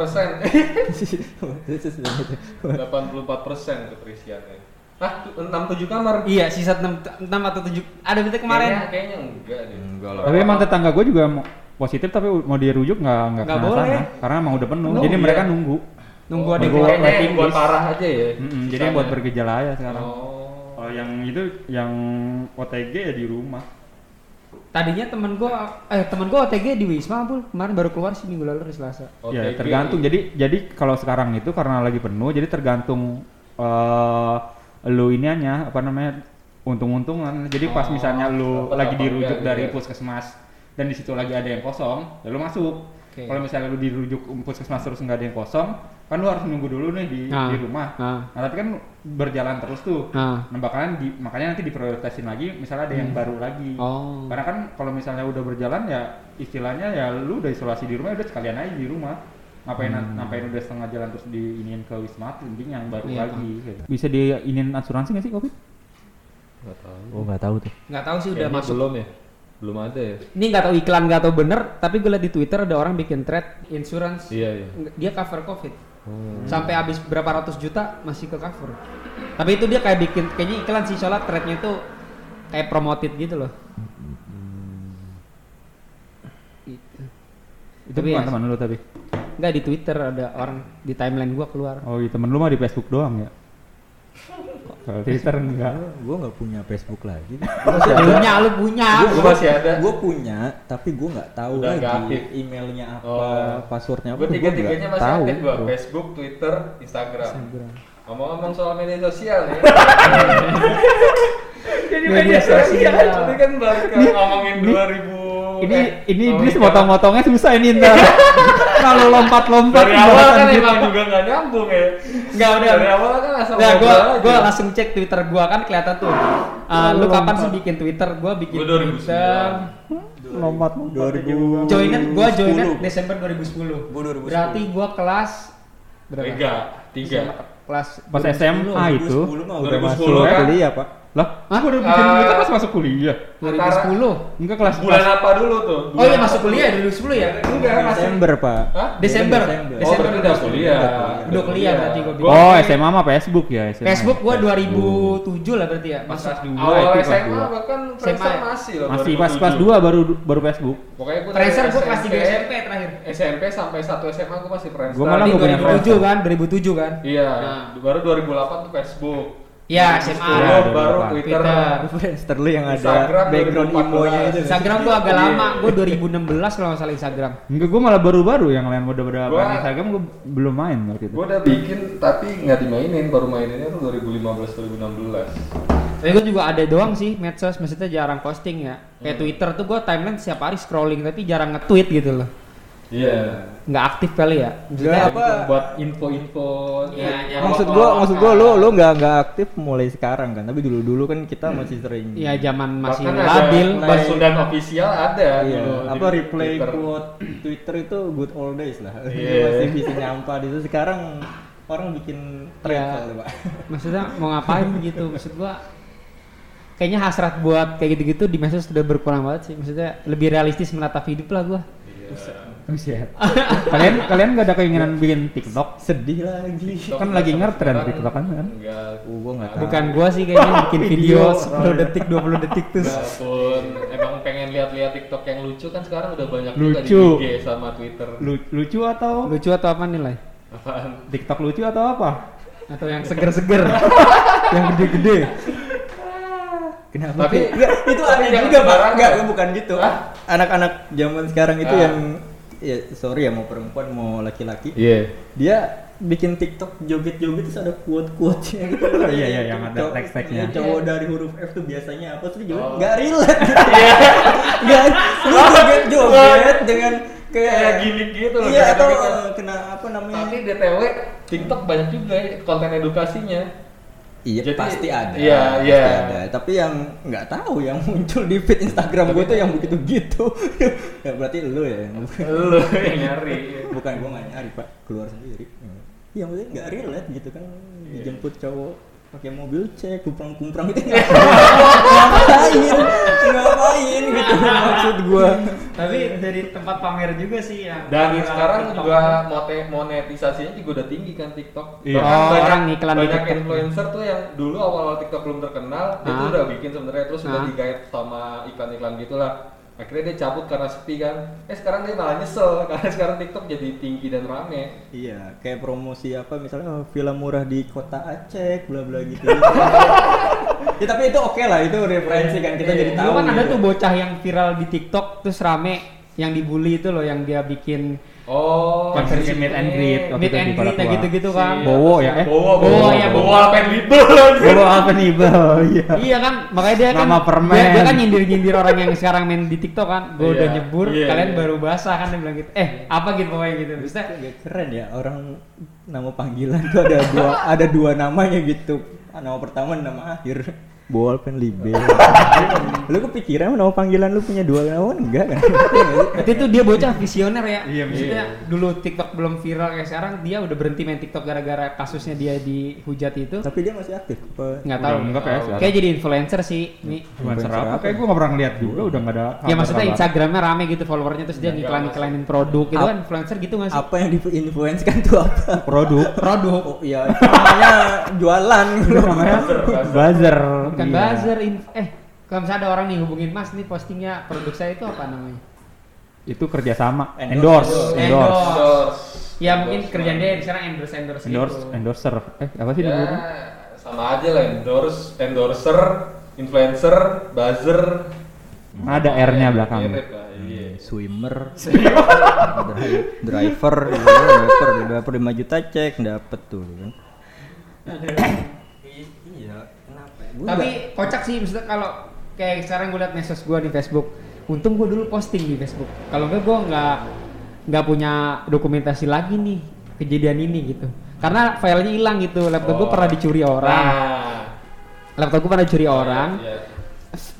Speaker 2: 84%.
Speaker 4: Terus udah gitu.
Speaker 2: 84% keterisiannya. Hah, 6 7 kamar.
Speaker 1: Iya, sisa 6, 6 atau 7. Ada berita kemarin.
Speaker 2: Kayaknya, kayaknya enggak deh.
Speaker 4: Enggak lah.
Speaker 5: Tapi emang tetangga gue juga mau- positif tapi u- mau dirujuk nggak nggak
Speaker 1: Nggak
Speaker 5: kena
Speaker 1: boleh.
Speaker 5: Karena emang udah penuh.
Speaker 2: Penuh,
Speaker 5: Jadi
Speaker 2: iya.
Speaker 5: mereka nunggu.
Speaker 4: Oh,
Speaker 1: Nunggu ada
Speaker 5: Nunggu
Speaker 1: yang
Speaker 5: orang
Speaker 2: Kayaknya
Speaker 5: lain.
Speaker 2: yang buat parah aja ya.
Speaker 5: Mm-mm, jadi yang buat
Speaker 2: sisanya.
Speaker 5: bergejala ya sekarang.
Speaker 2: Oh.
Speaker 5: Kalau yang itu yang OTG ya di rumah.
Speaker 1: Tadinya temen gua eh temen gua OTG di Wisma Bul. Kemarin baru keluar sih minggu lalu hari Selasa.
Speaker 5: Ya
Speaker 2: OTG.
Speaker 5: tergantung. Jadi jadi kalau sekarang itu karena lagi penuh jadi tergantung eh lu iniannya apa namanya untung-untungan. Jadi pas
Speaker 2: Oh,
Speaker 5: misalnya lu
Speaker 2: dapat
Speaker 5: lagi
Speaker 2: apa
Speaker 5: dirujuk
Speaker 2: enggak
Speaker 5: dari
Speaker 2: gitu ya.
Speaker 5: puskesmas dan di situ lagi ada yang kosong, ya lu masuk.
Speaker 1: Oke.
Speaker 5: Kalau misalnya lu dirujuk ke puskesmas terus nggak ada yang kosong, kan lu harus nunggu dulu nih di,
Speaker 1: Ah,
Speaker 5: di rumah.
Speaker 1: ah.
Speaker 5: Nah, tapi kan berjalan terus tuh.
Speaker 1: Ah.
Speaker 5: Nah, bakalan di- makanya nanti diprioritasin lagi misalnya ada yang baru lagi.
Speaker 1: Hmm. Oh.
Speaker 5: Karena kan kalau misalnya udah berjalan ya istilahnya ya lu udah isolasi di rumah udah sekalian aja di rumah. Ngapain
Speaker 1: Hmm.
Speaker 5: ngapain udah setengah jalan terus diinin ke Wisma Atlet mending yang baru
Speaker 1: Iya,
Speaker 5: lagi. kayak. Bisa diinin asuransi nggak sih Covid?
Speaker 2: Enggak tahu.
Speaker 4: oh nggak tahu tuh
Speaker 1: Nggak tahu sih udah
Speaker 2: Kayaknya
Speaker 1: masuk.
Speaker 2: belum ya? Belum ada ya?
Speaker 1: Ini nggak tahu iklan nggak tahu bener, tapi gue liat di Twitter ada orang bikin thread insurance.
Speaker 2: Iya, iya.
Speaker 1: Dia cover Covid. Sampai habis berapa ratus juta masih ke cover. Tapi itu dia kayak bikin kayaknya iklan sih soalnya threadnya itu kayak promoted gitu loh. Gitu.
Speaker 5: Itu
Speaker 1: Tapi
Speaker 5: bukan
Speaker 1: ya-
Speaker 5: teman lu tapi.
Speaker 1: Nggak di Twitter ada orang di timeline gua keluar.
Speaker 5: Oh, iya teman lu mah di Facebook doang ya. Kalau Twitter enggak.
Speaker 4: gue nggak punya Facebook lagi
Speaker 1: punya lu punya.
Speaker 2: Gua masih ada.
Speaker 4: gue punya tapi gue nggak tahu
Speaker 2: Udah nggak
Speaker 4: lagi
Speaker 2: aktif.
Speaker 4: emailnya apa
Speaker 2: Oh.
Speaker 4: passwordnya apa
Speaker 2: Gue
Speaker 4: gue
Speaker 2: tiga-tiganya
Speaker 4: nggak
Speaker 2: masih
Speaker 4: tahu
Speaker 2: aktif gua.
Speaker 4: bro.
Speaker 2: Facebook, Twitter, Instagram.
Speaker 1: Instagram.
Speaker 2: Ngomong-ngomong soal media sosial ya.
Speaker 5: Jadi
Speaker 1: media sosial.
Speaker 2: Tadi kan balik ke ngomongin 2000.
Speaker 5: Ini
Speaker 2: eh,
Speaker 5: ini
Speaker 1: Oh,
Speaker 2: ngomongin
Speaker 5: Idris
Speaker 1: iya.
Speaker 2: ke-
Speaker 5: motong-motongnya susah ini ntar. Kalau lompat-lompat
Speaker 2: Dari awal kan
Speaker 5: bahasan gitu.
Speaker 2: emang juga nggak nyambung ya.
Speaker 1: Nggak, udah.
Speaker 2: Dari awal kan asal
Speaker 1: Nah, gua
Speaker 2: ngobrol aja.
Speaker 1: gua langsung cek Twitter gua kan kelihatan tuh. Ah, lu kapan sih bikin Twitter? Gua bikin
Speaker 2: Gua 2009.
Speaker 1: Twitter.
Speaker 5: lompat
Speaker 4: 2000
Speaker 1: Joined gua joined
Speaker 4: 10.
Speaker 1: Desember 2010.
Speaker 4: Gua 2010.
Speaker 1: Berarti gua kelas
Speaker 2: tiga, tiga.
Speaker 1: Kelas
Speaker 5: Pas SMA itu
Speaker 4: 2010 mah udah
Speaker 2: 2010
Speaker 4: masuk
Speaker 2: kan?
Speaker 4: kuliah pak
Speaker 5: Lah,
Speaker 1: Hah?
Speaker 5: aku udah bikin
Speaker 2: Eh,
Speaker 5: duit pas masuk kuliah.
Speaker 1: 2010.
Speaker 5: Enggak kelas
Speaker 2: Bulan
Speaker 5: kelas-
Speaker 2: apa dulu tuh?
Speaker 1: Oh
Speaker 2: Bulan
Speaker 1: iya
Speaker 2: apa
Speaker 1: masuk
Speaker 2: dulu?
Speaker 1: kuliah 2010 ya?
Speaker 2: Enggak, masih
Speaker 4: Desember pak.
Speaker 2: Hah?
Speaker 1: Desember.
Speaker 4: Desember.
Speaker 2: Iya, Oh, berarti udah kuliah.
Speaker 1: Udah kuliah berarti gua bilang.
Speaker 5: Oh, SMA mah Facebook ya, SMA.
Speaker 1: Facebook gua
Speaker 5: Facebook.
Speaker 1: 2007 lah berarti ya.
Speaker 2: Pas
Speaker 1: Masuk
Speaker 5: dua
Speaker 2: awal
Speaker 5: itu, kelas
Speaker 2: SMA
Speaker 5: dua.
Speaker 2: bahkan
Speaker 1: SMA.
Speaker 2: Tracer masih loh.
Speaker 5: Masih
Speaker 2: 2007.
Speaker 5: pas kelas 2 baru baru Facebook.
Speaker 2: Pokoknya gua
Speaker 1: Tracer
Speaker 2: dari
Speaker 1: gua kelas 3 SMP
Speaker 2: SMP.
Speaker 1: terakhir.
Speaker 2: SMP sampai 1 SMA gua masih Friendster.
Speaker 5: Gua malah
Speaker 1: Berarti
Speaker 5: gua punya friends.
Speaker 1: 2007 kan? 2007 kan?
Speaker 2: Iya,
Speaker 1: Nah.
Speaker 2: baru 2008 tuh Facebook.
Speaker 1: Iya,
Speaker 2: 2010
Speaker 1: SMA.
Speaker 5: Iya,
Speaker 2: baru
Speaker 5: 2008.
Speaker 2: Twitter.
Speaker 1: Twitter.
Speaker 4: Friendster lu yang ada
Speaker 2: Instagram
Speaker 4: background
Speaker 2: 2014.
Speaker 4: imonya itu. kan?
Speaker 1: Instagram gua agak
Speaker 2: Iya.
Speaker 1: lama, gua 2016 kalau nggak salah Instagram.
Speaker 5: Enggak, gua malah baru-baru yang lain udah pada
Speaker 2: Gua-
Speaker 5: main Instagram gua belum main waktu itu.
Speaker 2: Gua udah bikin tapi nggak dimainin, baru maininnya tuh 2015 2016.
Speaker 1: Tapi gue juga ada doang sih medsos, maksudnya jarang posting ya. Kayak
Speaker 2: Hmm.
Speaker 1: Twitter tuh gue timeline setiap hari scrolling tapi jarang nge-tweet gitu loh.
Speaker 2: Iya.
Speaker 1: Nggak aktif kali ya.
Speaker 4: Enggak apa.
Speaker 2: Buat info-info.
Speaker 1: Iya, iya.
Speaker 4: Maksud gua, maksud gua lu lu nggak nggak aktif mulai sekarang kan. Tapi dulu dulu kan kita masih sering.
Speaker 1: Ya zaman masih
Speaker 2: Bahkan ada
Speaker 1: labil.
Speaker 2: Bas Sundan official ada
Speaker 4: Iya,
Speaker 2: dulu
Speaker 4: apa
Speaker 2: di
Speaker 4: replay
Speaker 2: Twitter.
Speaker 4: quote Twitter itu good old days lah.
Speaker 2: Iya.
Speaker 4: Masih bisa nyampah di situ. Sekarang orang bikin thread
Speaker 1: Iya.
Speaker 4: soalnya, Pak.
Speaker 1: Maksudnya mau ngapain gitu maksud gua kayaknya hasrat buat kayak gitu-gitu di medsos sudah berkurang banget sih. Maksudnya lebih realistis menatap hidup lah gua.
Speaker 2: Iya.
Speaker 5: Buset. Oh, kalian kalian gak ada keinginan bikin TikTok?
Speaker 4: Sedih lagi.
Speaker 2: TikTok
Speaker 5: Kan lagi
Speaker 2: sampai
Speaker 5: ngetren
Speaker 2: sekarang
Speaker 5: TikTok kan, kan?
Speaker 2: Enggak.
Speaker 4: Uh, gua nggak tahu.
Speaker 1: Bukan gua sih kayaknya bikin video 10 detik, 20 detik terus.
Speaker 2: Enggak pun emang pengen lihat-lihat TikTok yang lucu kan sekarang udah banyak
Speaker 5: Lucu.
Speaker 2: juga di IG sama Twitter.
Speaker 5: Lu- lucu atau
Speaker 1: Lucu atau apa nilai?
Speaker 2: Apaan?
Speaker 5: TikTok lucu atau apa?
Speaker 1: Atau yang seger-seger. yang gede-gede.
Speaker 4: Kenapa?
Speaker 2: Tapi-
Speaker 4: Tapi Nggak, Iya, itu
Speaker 2: tapi
Speaker 4: aneh
Speaker 2: jangan
Speaker 4: juga, Pak.
Speaker 2: sembarangan.
Speaker 4: Enggak, bukan gitu.
Speaker 2: Hah?
Speaker 4: Anak-anak zaman sekarang itu
Speaker 2: Ah.
Speaker 4: yang ya sorry ya mau perempuan mau laki-laki.
Speaker 2: Iya.
Speaker 4: Dia bikin TikTok joget-joget terus ada quote-quote-nya gitu.
Speaker 5: Oh, iya, iya, yang ada
Speaker 4: Cowok-
Speaker 5: teks-teksnya.
Speaker 4: iya, Cowok dari huruf F tuh biasanya apa sih joget?
Speaker 2: Oh. Iya.
Speaker 4: Enggak relate. Enggak. Lu joget-joget dengan kayak
Speaker 2: Kayak gimmick gitu loh,
Speaker 4: Iya, atau
Speaker 2: joget-joget.
Speaker 4: eh, kena apa namanya?
Speaker 2: Tapi DTW TikTok banyak juga ya konten edukasinya.
Speaker 4: Iya
Speaker 2: Jadi-
Speaker 4: pasti ada.
Speaker 2: Iya,
Speaker 4: pasti
Speaker 2: iya.
Speaker 4: ada. Tapi yang nggak tahu yang muncul di feed Instagram gue tuh yang begitu gitu. ya berarti lu ya, bukan,
Speaker 2: Lu yang nyari.
Speaker 4: bukan gue nggak nyari pak, keluar sendiri. Iya maksudnya nggak relate gitu kan,
Speaker 1: Iya,
Speaker 4: dijemput cowok pakai mobil cek kumprang-kumprang itu nggak- ngapain ngapain gitu maksud gue
Speaker 1: Tapi dari tempat pamer juga sih yang
Speaker 2: Dan sekarang juga mote- monetisasinya juga udah tinggi kan TikTok. Bahkan
Speaker 5: Iya.
Speaker 1: Oh,
Speaker 2: banyak,
Speaker 1: orang iklan di
Speaker 2: banyak
Speaker 1: TikTok.
Speaker 2: influencer tuh yang dulu awal-awal TikTok belum terkenal, dia tuh
Speaker 1: Ah.
Speaker 2: udah bikin sebenarnya terus udah
Speaker 1: Ah.
Speaker 2: digait sama iklan-iklan gitulah. Akhirnya dia cabut karena sepi kan. Eh sekarang dia malah nyesel karena sekarang TikTok jadi tinggi dan rame.
Speaker 4: iya kayak promosi apa misalnya oh, film murah di kota Aceh bla bla gitu ya tapi itu oke lah itu referensi kan kita jadi tahu
Speaker 1: Dulu kan ada
Speaker 2: ya.
Speaker 4: gitu.
Speaker 1: tuh bocah yang viral di TikTok terus rame yang dibully itu loh yang dia bikin
Speaker 2: Oh,
Speaker 5: Konversi
Speaker 2: jadi
Speaker 5: meet and
Speaker 2: ini.
Speaker 5: greet. Waktu
Speaker 1: meet
Speaker 5: itu
Speaker 1: and
Speaker 5: di
Speaker 1: greet
Speaker 5: Paratua.
Speaker 1: gitu-gitu
Speaker 2: Si-
Speaker 1: kan.
Speaker 5: Bowo ya, eh?
Speaker 2: Bowo, bowo,
Speaker 1: Bowo, ya,
Speaker 2: ya, bowo
Speaker 1: Bowo.
Speaker 2: alpen libel.
Speaker 5: Bobo apa nih, Bel? Iya.
Speaker 1: Iya kan, makanya dia kan
Speaker 5: Nama permen.
Speaker 1: Dia, dia kan nyindir-nyindir orang yang sekarang main di TikTok kan. Gue
Speaker 2: Iya.
Speaker 1: udah nyebur,
Speaker 2: Iya,
Speaker 1: kalian
Speaker 2: iya.
Speaker 1: baru basah kan dia bilang gitu. Eh, apa gitu pokoknya gitu. Maksudnya
Speaker 4: Agak keren ya orang nama panggilan tuh ada dua ada dua namanya gitu nama pertama dan nama akhir Boal kan pen libe lu kepikiran nama panggilan lu punya dua nama enggak kan
Speaker 1: berarti tuh dia bocah visioner ya.
Speaker 5: Iya,
Speaker 1: maksudnya dulu TikTok belum viral kayak sekarang, dia udah berhenti main TikTok gara-gara kasusnya dia dihujat itu.
Speaker 4: tapi dia masih aktif apa
Speaker 1: Nggak tahu.
Speaker 5: Udah enggak ya sekarang.
Speaker 1: Kayak jadi influencer sih. Nih,
Speaker 5: Influencer apa? Kayak gue gak pernah lihat juga, udah gak ada
Speaker 1: Ya maksudnya
Speaker 5: kabar-kabar.
Speaker 1: Instagramnya rame gitu followernya terus dia
Speaker 2: Iya,
Speaker 1: ngiklan-iklanin produk gitu
Speaker 4: Ap-
Speaker 1: kan influencer gitu nggak sih?
Speaker 4: apa yang diinfluenskan tuh apa
Speaker 5: Produk.
Speaker 1: Produk
Speaker 4: oh iya itu namanya jualan
Speaker 5: Itu namanya buzzer.
Speaker 1: bukan
Speaker 5: Iya.
Speaker 1: buzzer inf- eh kalau misalnya ada orang nih hubungin mas nih postingnya produk saya itu apa namanya?
Speaker 5: Itu kerjasama. Endorse.
Speaker 4: Endorse.
Speaker 1: Endorse.
Speaker 5: Endorse.
Speaker 1: Ya mungkin kerjaan dia sekarang endorse endorse gitu.
Speaker 5: Endorse. Endorser. Eh apa sih
Speaker 2: Ya,
Speaker 5: namanya?
Speaker 2: sama aja lah endorse, endorser, influencer, buzzer.
Speaker 5: Ada R-nya belakang.
Speaker 2: Mirip lah, iya.
Speaker 4: swimmer dri- driver iya, driver driver 5 juta cek dapet tuh kan iya kenapa ya? Gua
Speaker 1: Tapi kocak sih maksudnya kalau kayak sekarang gue liat medsos gue di Facebook. Untung gue dulu posting di Facebook. Kalau enggak gue nggak nggak punya dokumentasi lagi nih kejadian ini gitu. Karena filenya hilang gitu. Laptop gue
Speaker 2: Oh.
Speaker 1: pernah dicuri orang.
Speaker 2: Nah,
Speaker 1: Laptop gue pernah dicuri orang.
Speaker 2: iya.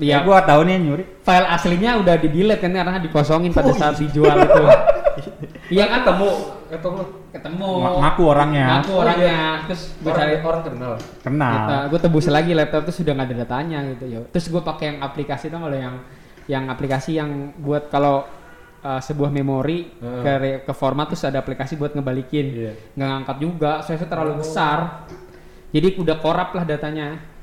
Speaker 5: Ya
Speaker 1: Ya
Speaker 5: gue tau nih yang nyuri.
Speaker 1: file aslinya udah di delete kan karena dikosongin pada saat dijual itu.
Speaker 2: Iya kan Oh, iya. ketemu, ketemu.
Speaker 1: ketemu
Speaker 5: Ma- ngaku orangnya.
Speaker 1: ngaku orangnya terus gue
Speaker 2: Orang,
Speaker 1: cari
Speaker 2: orang kenal.
Speaker 1: Nah,
Speaker 5: kenal
Speaker 1: gue tebus lagi laptop tuh sudah nggak ada datanya gitu ya. Terus gue pakai yang aplikasi tuh kalau yang yang aplikasi yang buat kalau uh, sebuah memori
Speaker 2: Heeh.
Speaker 1: ke re- ke format terus ada aplikasi buat ngebalikin.
Speaker 2: Iya.
Speaker 1: Nggak ngangkat juga, soalnya terlalu besar. Jadi udah korap lah datanya.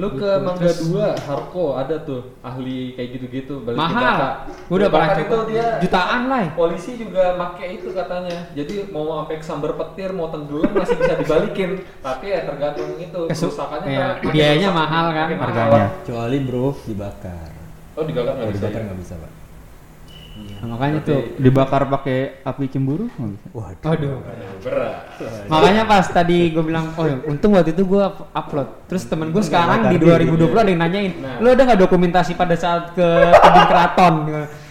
Speaker 2: Lu ke Mangga 2 Harko ada tuh ahli kayak gitu-gitu balikin data.
Speaker 1: Mahal. Gue udah pernah
Speaker 2: Bahkan itu
Speaker 1: coba.
Speaker 2: dia
Speaker 1: Jutaan lah.
Speaker 2: polisi juga make itu katanya. Jadi mau sampai sambar petir, mau tenggelam masih bisa dibalikin. Tapi ya tergantung itu
Speaker 1: Kesu-
Speaker 2: kerusakannya.
Speaker 1: iya,
Speaker 2: kan, makin
Speaker 1: biayanya
Speaker 2: rusak,
Speaker 1: mahal kan,
Speaker 2: makin
Speaker 5: harganya.
Speaker 4: kecuali bro dibakar
Speaker 2: Oh, digalang nggak
Speaker 4: kalau
Speaker 2: bisa.
Speaker 4: dibakar
Speaker 2: ya?
Speaker 4: nggak bisa pak
Speaker 1: Nah, makanya
Speaker 2: Berarti-
Speaker 1: tuh.
Speaker 5: Dibakar pakai api cemburu nggak bisa.
Speaker 4: waduh
Speaker 1: Aduh.
Speaker 2: Nah, Berat.
Speaker 1: Makanya pas tadi gue bilang, oh ya, untung waktu itu gue upload. Terus temen gue sekarang di
Speaker 4: tadi,
Speaker 1: 2020 ada yang nanyain,
Speaker 2: Nah.
Speaker 1: lo ada nggak dokumentasi pada saat ke Tebing Keraton?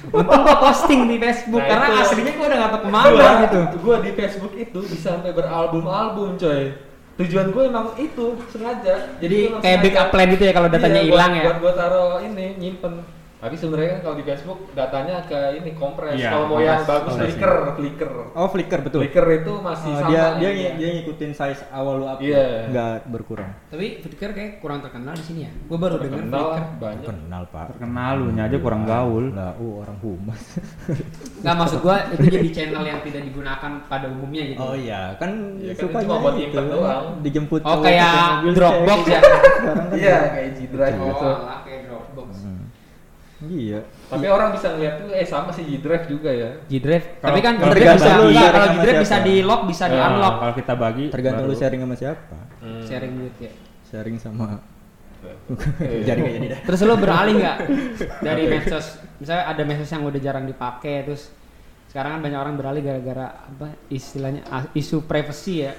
Speaker 1: Untung gue posting di Facebook
Speaker 2: Nah,
Speaker 1: karena
Speaker 2: itu.
Speaker 1: aslinya gue udah nggak tahu kemana gitu.
Speaker 2: Gue di Facebook itu bisa sampai beralbum-album, coy. Tujuan gue emang itu sengaja.
Speaker 1: Jadi
Speaker 2: gua emang
Speaker 1: kayak
Speaker 2: sengaja.
Speaker 1: backup plan gitu ya kalau datanya
Speaker 2: Iya, buat-
Speaker 1: hilang ya?
Speaker 2: Buat gue taruh ini nyimpen. Tapi sebenarnya kan kalau di Facebook datanya ke ini kompres.
Speaker 5: Iya,
Speaker 2: kalau mau
Speaker 5: kompres.
Speaker 2: yang bagus
Speaker 5: Kompres. iya.
Speaker 2: flicker, flicker.
Speaker 4: oh flicker betul
Speaker 2: Flicker Eh, itu masih
Speaker 4: Oh,
Speaker 2: sama.
Speaker 4: dia dia
Speaker 2: ini. ya.
Speaker 4: dia ngikutin size awal lu up
Speaker 2: Iya.
Speaker 4: nggak berkurang
Speaker 1: Tapi Flickr kayak kurang terkenal di sini ya. Gue baru denger
Speaker 2: Terkenal
Speaker 1: Flickr.
Speaker 2: banyak.
Speaker 4: kenal pak
Speaker 5: Terkenal lu nya aja kurang gaul.
Speaker 4: lah oh orang humas
Speaker 1: Nggak maksud gue itu jadi channel yang tidak digunakan pada umumnya gitu.
Speaker 4: oh iya kan
Speaker 2: Iya, kan
Speaker 4: suka
Speaker 2: cuma buat nyimpen doang.
Speaker 4: dijemput
Speaker 1: Oh,
Speaker 4: cowok
Speaker 1: kayak
Speaker 4: pakai mobil
Speaker 1: Dropbox
Speaker 4: cek.
Speaker 1: ya?
Speaker 4: sekarang kan
Speaker 2: Iya, kayak G Drive gitu.
Speaker 1: Oh, lah, kayak Dropbox.
Speaker 4: iya
Speaker 2: Tapi orang bisa ngeliat tuh eh sama si G Drive juga ya.
Speaker 1: G-Drive. Tapi kan
Speaker 5: Kalau-
Speaker 1: G-Drive bisa,
Speaker 4: tergantung lu
Speaker 1: enggak,
Speaker 4: share
Speaker 1: kalau
Speaker 4: sama
Speaker 1: G-Drive bisa
Speaker 4: siapa.
Speaker 1: di lock, bisa di
Speaker 5: Ah.
Speaker 2: Ya,
Speaker 1: unlock.
Speaker 5: Kalau kita bagi
Speaker 4: tergantung lu
Speaker 5: baru-
Speaker 4: sharing sama siapa
Speaker 2: Hmm.
Speaker 5: Hmm.
Speaker 1: Sharing duit ya.
Speaker 4: sharing sama
Speaker 2: Eh,
Speaker 4: jadi nggak jadi dah
Speaker 1: Terus lo beralih nggak dari medsos? Misalnya ada medsos yang udah jarang dipakai, terus sekarang kan banyak orang beralih gara-gara apa istilahnya a- isu privacy ya,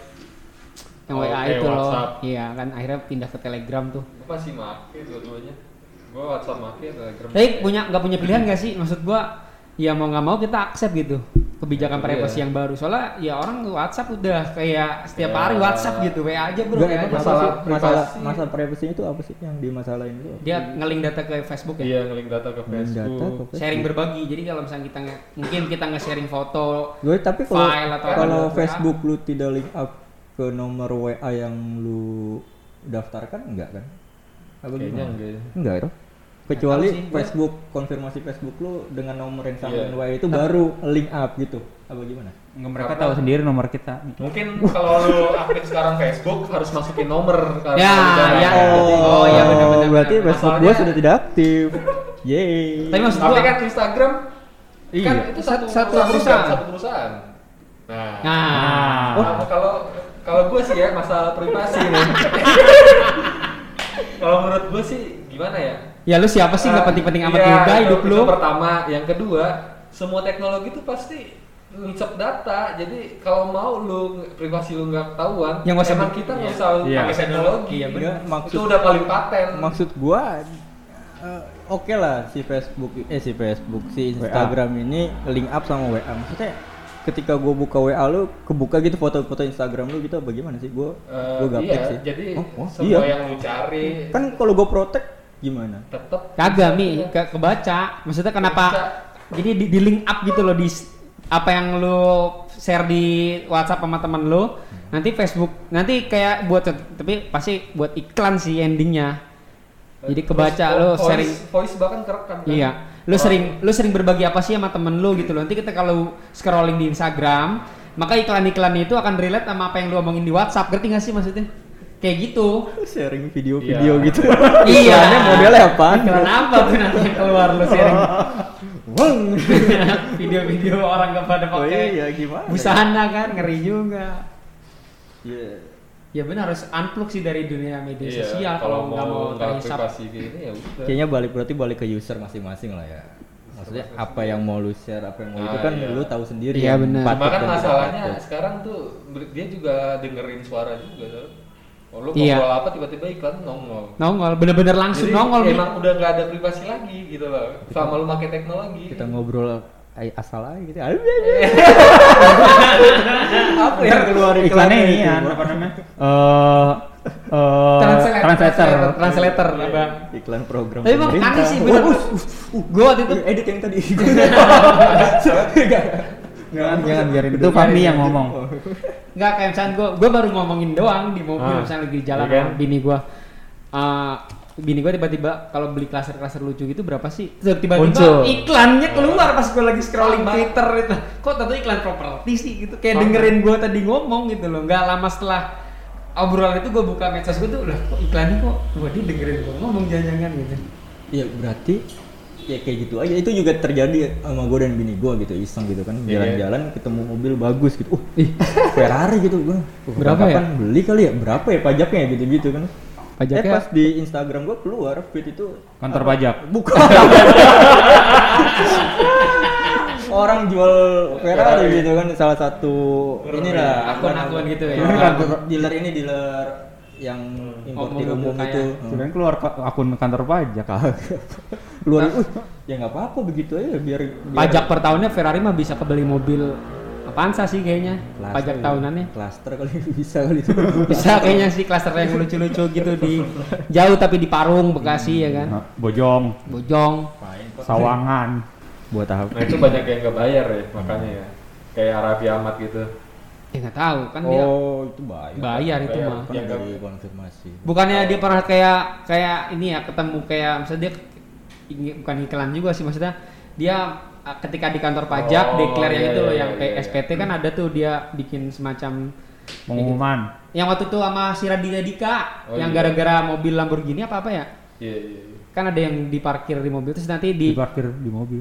Speaker 1: yang
Speaker 2: Oh,
Speaker 1: WA
Speaker 2: kayak
Speaker 1: itu loh.
Speaker 2: WhatsApp.
Speaker 1: Iya kan akhirnya pindah ke Telegram tuh.
Speaker 2: Gue masih make dua-duanya. Gue WhatsApp make Telegram.
Speaker 1: Tapi punya nggak punya pilihan nggak sih? Maksud gua ya mau nggak mau kita accept gitu kebijakan
Speaker 2: Iya.
Speaker 1: privacy yang baru. Soalnya ya orang WhatsApp udah kayak setiap
Speaker 2: Ya.
Speaker 1: hari WhatsApp gitu, WA aja bro.
Speaker 4: Enggak,
Speaker 1: WA
Speaker 4: emang
Speaker 1: aja.
Speaker 4: masalah
Speaker 2: Apa sih?
Speaker 4: masalah
Speaker 2: Privasi.
Speaker 4: masalah privacy itu apa sih yang dimasalahin itu?
Speaker 1: Dia ngelink data ke Facebook ya.
Speaker 2: Iya, ngelink data ke
Speaker 4: Ngelink data
Speaker 2: Facebook.
Speaker 4: ke-
Speaker 1: Sharing berbagi. Jadi kalau misalnya kita nge- mungkin kita nge-sharing foto
Speaker 4: Gue tapi kalau
Speaker 1: File atau
Speaker 4: kalau
Speaker 1: apa?
Speaker 4: Facebook lu tidak link up ke nomor WA yang lu daftarkan enggak kan? Apa
Speaker 2: Kayaknya
Speaker 4: gimana?
Speaker 2: enggak ya.
Speaker 4: Enggak itu. Kecuali
Speaker 1: Nggak tahu sih, gue-
Speaker 4: Facebook konfirmasi Facebook lu dengan nomor yang sama
Speaker 2: Iya.
Speaker 4: dengan WA itu baru link up gitu. Apa gimana?
Speaker 5: Nggak, mereka tahu sendiri nomor kita. Oh,
Speaker 2: Mungkin kalau lu aktif sekarang Facebook harus masukin nomor karena
Speaker 1: Ya,
Speaker 2: udah-
Speaker 1: ya. Oh, iya, benar-benar,
Speaker 4: berarti
Speaker 1: benar-benar.
Speaker 4: Facebook
Speaker 2: Masalahnya-
Speaker 4: gue sudah tidak aktif. Yeay.
Speaker 1: Tapi maksud
Speaker 2: Tapi
Speaker 1: gua-
Speaker 2: kan Instagram kan
Speaker 4: Iya.
Speaker 2: itu satu
Speaker 1: Satu
Speaker 2: satu
Speaker 1: perusahaan.
Speaker 2: satu perusahaan. Nah,
Speaker 1: Nah,
Speaker 2: kalau- kalau kalau gue sih ya masalah privasi nih. kalau menurut gue sih gimana ya?
Speaker 1: ya lu siapa sih nggak
Speaker 2: Eh,
Speaker 1: penting-penting amat
Speaker 2: iya,
Speaker 1: juga
Speaker 2: itu-
Speaker 1: hidup
Speaker 2: itu
Speaker 1: lu?
Speaker 2: Pertama, yang kedua, semua teknologi itu pasti ngisep data. Jadi kalau mau lu privasi lu nggak ketahuan,
Speaker 1: Yang nggak usah
Speaker 2: emang
Speaker 1: di-
Speaker 2: kita nggak
Speaker 1: iya.
Speaker 2: usah
Speaker 5: Iya.
Speaker 2: pakai teknologi.
Speaker 1: Iya,
Speaker 4: bener.
Speaker 2: itu
Speaker 4: Maksud-
Speaker 2: udah paling paten.
Speaker 4: maksud gua eh, oke lah si Facebook eh si Facebook si Instagram ini link up sama WA maksudnya ketika gua buka WA lu kebuka gitu foto-foto Instagram lu gitu bagaimana sih gua
Speaker 2: Eh,
Speaker 4: gua gaptek
Speaker 2: iya,
Speaker 4: sih
Speaker 2: jadi
Speaker 4: Oh, oh,
Speaker 2: semua
Speaker 4: iya.
Speaker 2: yang lu cari
Speaker 4: kan kalau gua protect gimana
Speaker 2: tetap
Speaker 1: Kagak mi, ke- kebaca. Maksudnya kenapa?
Speaker 2: Kebaca.
Speaker 1: Jadi di, di link up gitu loh di s- apa yang lu share di WhatsApp sama teman lu. Nanti Facebook nanti kayak buat tapi pasti buat iklan sih endingnya. Jadi kebaca
Speaker 2: Terus
Speaker 1: lu
Speaker 2: eh, voice-
Speaker 1: sharing
Speaker 2: voice bahkan kerekam kan?
Speaker 1: Iya. Lu
Speaker 2: Oh.
Speaker 1: sering lu sering berbagi apa sih sama temen lu gitu loh. Nanti kita kalau scrolling di Instagram, maka iklan-iklan itu akan relate sama apa yang lu omongin di WhatsApp. Ngerti gak sih maksudnya? Kayak gitu.
Speaker 4: sharing video-video gitu
Speaker 1: Iya.
Speaker 4: Iklannya modelnya apaan
Speaker 1: Iklan apa tuh nanti yang keluar lu sharing? Video-video orang gak pada
Speaker 4: oh
Speaker 1: pakai
Speaker 4: iya gimana
Speaker 1: busana kan, ngeri juga.
Speaker 4: Iya.
Speaker 1: Ya benar harus unplug sih dari dunia media
Speaker 2: Iya,
Speaker 1: sosial kalau nggak mau
Speaker 2: nggak
Speaker 1: terhisap.
Speaker 2: privasi gini ya udah.
Speaker 4: kayaknya balik berarti balik ke user masing-masing lah ya maksudnya apa yang mau lu share apa yang mau itu
Speaker 2: Ah,
Speaker 4: kan
Speaker 2: iya.
Speaker 4: lu tahu sendiri
Speaker 1: Iya,
Speaker 4: yang
Speaker 1: benar.
Speaker 4: patut
Speaker 2: Cuma kan
Speaker 4: dan tidak
Speaker 2: masalahnya
Speaker 4: patut.
Speaker 2: sekarang tuh ber- dia juga dengerin suara juga. Sal. Oh, lu
Speaker 1: Iya.
Speaker 2: ngobrol apa tiba-tiba iklan nongol.
Speaker 1: Nongol, bener-bener langsung
Speaker 2: Jadi
Speaker 1: nongol. Mi.
Speaker 2: emang udah nggak ada privasi lagi gitu loh. Selama lu pakai teknologi.
Speaker 4: kita ngobrol ay- asal aja gitu. Aduh, aduh, aduh. apa
Speaker 2: ya?
Speaker 4: yang keluar
Speaker 5: ya. Iklannya ini ya, apa namanya? Eh eh,
Speaker 1: Translator.
Speaker 5: translator.
Speaker 1: Translator,
Speaker 2: Iya.
Speaker 1: Abang.
Speaker 4: Iklan program.
Speaker 1: Tapi emang
Speaker 4: pemerintah.
Speaker 1: aneh sih bener.
Speaker 4: Wah, us,
Speaker 1: Gue waktu itu
Speaker 4: edit yang tadi.
Speaker 5: Jangan, jangan biarin. Itu Fahmi yang ngomong.
Speaker 1: Enggak kayak misalnya gue, gue baru ngomongin doang di mobil
Speaker 2: Ah,
Speaker 1: misalnya lagi di jalan
Speaker 2: iya kan?
Speaker 1: sama bini gue. Ah, bini gue tiba-tiba kalau beli klaser-klaser lucu gitu berapa sih? Terus Tiba-tiba
Speaker 5: Muncul.
Speaker 1: iklannya keluar pas gue lagi scrolling Twitter itu. Kok tentu iklan properti sih gitu? Kayak
Speaker 2: Sama.
Speaker 1: dengerin gue tadi ngomong gitu loh. Enggak lama setelah obrolan itu gue buka medsos gue tuh, lah kok iklannya kok? Gue dia dengerin gue ngomong jangan-jangan gitu.
Speaker 4: Ya berarti ya kayak gitu aja itu juga terjadi sama gue dan bini gue gitu iseng gitu kan
Speaker 2: Iya,
Speaker 4: jalan-jalan ketemu mobil bagus gitu uh ih Ferrari gitu gue
Speaker 1: Berapa ya?
Speaker 4: beli kali ya berapa ya pajaknya gitu gitu kan
Speaker 1: Pajaknya-
Speaker 4: eh, pas di Instagram gue keluar feed itu
Speaker 5: Kantor pajak.
Speaker 4: bukan orang jual Ferrari gitu kan salah satu inilah
Speaker 1: Akun-akun gitu ya.
Speaker 4: Akun- dealer ini dealer yang importir
Speaker 1: Oh,
Speaker 4: umum
Speaker 1: membuka
Speaker 4: itu
Speaker 1: ya.
Speaker 4: Hmm.
Speaker 5: Sebenarnya keluar ka- akun kantor pajak. ah.
Speaker 4: luar uh ya nggak apa-apa begitu aja biar, biar
Speaker 1: Nah. Pajak per tahunnya Ferrari mah bisa kebeli mobil Avanza sih kayaknya.
Speaker 4: Klaster
Speaker 1: Pajak ya?
Speaker 4: gitu.
Speaker 1: tahunannya.
Speaker 4: klaster kali bisa kali itu
Speaker 1: bisa kayaknya sih klaster yang lucu-lucu gitu di jauh tapi di Parung Bekasi ya kan
Speaker 5: Nah, Bojong,
Speaker 1: Bojong
Speaker 5: Sawangan.
Speaker 4: buat apa
Speaker 2: Nah itu banyak yang nggak bayar ya makanya ya. Kayak Raffi Ahmad gitu.
Speaker 1: ya nggak tahu kan dia
Speaker 4: oh itu baik
Speaker 1: bayar Iya, itu
Speaker 2: Bayar.
Speaker 1: mah
Speaker 4: pernah
Speaker 2: Ya,
Speaker 4: dari konfirmasi
Speaker 1: bukannya dia pernah kayak kayak ini ya ketemu kayak misalnya dia ini bukan iklan juga sih maksudnya dia ah, ketika di kantor pajak
Speaker 2: Oh,
Speaker 1: declare yang
Speaker 2: iya,
Speaker 1: itu loh
Speaker 2: iya,
Speaker 1: yang
Speaker 2: iya,
Speaker 1: kayak
Speaker 2: iya.
Speaker 1: SPT kan ada tuh dia bikin semacam
Speaker 5: Pengumuman.
Speaker 1: yang waktu itu sama si Raditya Dika
Speaker 2: Oh,
Speaker 1: yang
Speaker 2: iya.
Speaker 1: gara-gara mobil Lamborghini apa apa ya
Speaker 2: Iya iya. iya.
Speaker 1: kan ada yang diparkir di mobil terus nanti di
Speaker 5: Diparkir di mobil.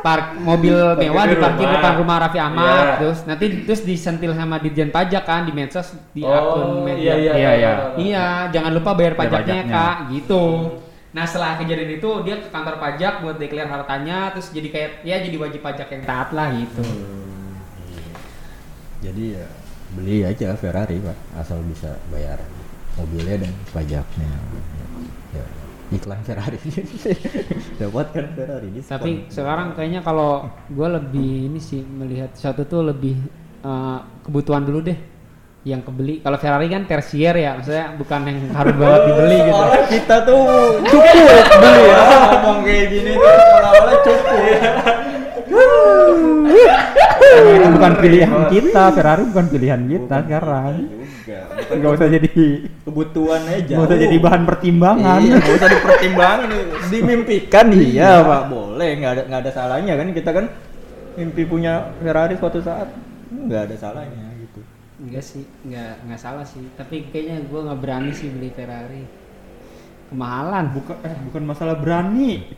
Speaker 1: park mobil mewah
Speaker 2: di
Speaker 1: diparkir
Speaker 2: rumah.
Speaker 1: depan rumah Raffi Ahmad
Speaker 2: Iya.
Speaker 1: terus nanti terus disentil sama Ditjen Pajak kan di medsos di akun
Speaker 2: iya
Speaker 1: media.
Speaker 2: iya
Speaker 5: Iya, iya.
Speaker 1: Iya, jangan lupa bayar
Speaker 5: Bayar
Speaker 1: pajaknya,
Speaker 5: pajaknya.
Speaker 1: Kak, gitu. Nah, setelah kejadian itu dia ke kantor pajak buat declare hartanya terus jadi kayak ya jadi wajib pajak yang taat lah gitu.
Speaker 4: Hmm, iya. jadi ya beli aja Ferrari pak asal bisa bayar mobilnya dan pajaknya ya, iklan Ferrari dapat kan Ferrari diskon.
Speaker 1: Tapi sekarang kayaknya kalau gua lebih ini sih melihat satu tuh lebih eh, kebutuhan dulu deh yang kebeli. Kalau Ferrari kan tersier ya, maksudnya bukan yang harus banget dibeli gitu.
Speaker 4: Seolah kita tuh Iya, cukup beli ya Iya. ngomong kayak gini tuh seolah-olah cukup
Speaker 5: Ferrari bukan pilihan kita, Ferrari bukan pilihan kita sekarang.
Speaker 4: juga
Speaker 5: Enggak usah jadi
Speaker 4: kebutuhan aja
Speaker 5: enggak usah jadi bahan pertimbangan.
Speaker 4: Iya, nggak usah dipertimbangkan dimimpikan iya pak boleh nggak ada nggak ada salahnya kan kita kan mimpi punya Ferrari suatu saat nggak ada salahnya gitu
Speaker 1: Enggak sih, enggak enggak salah sih. Tapi kayaknya gue nggak berani sih beli Ferrari. Kemahalan.
Speaker 5: Bukan eh, bukan masalah berani.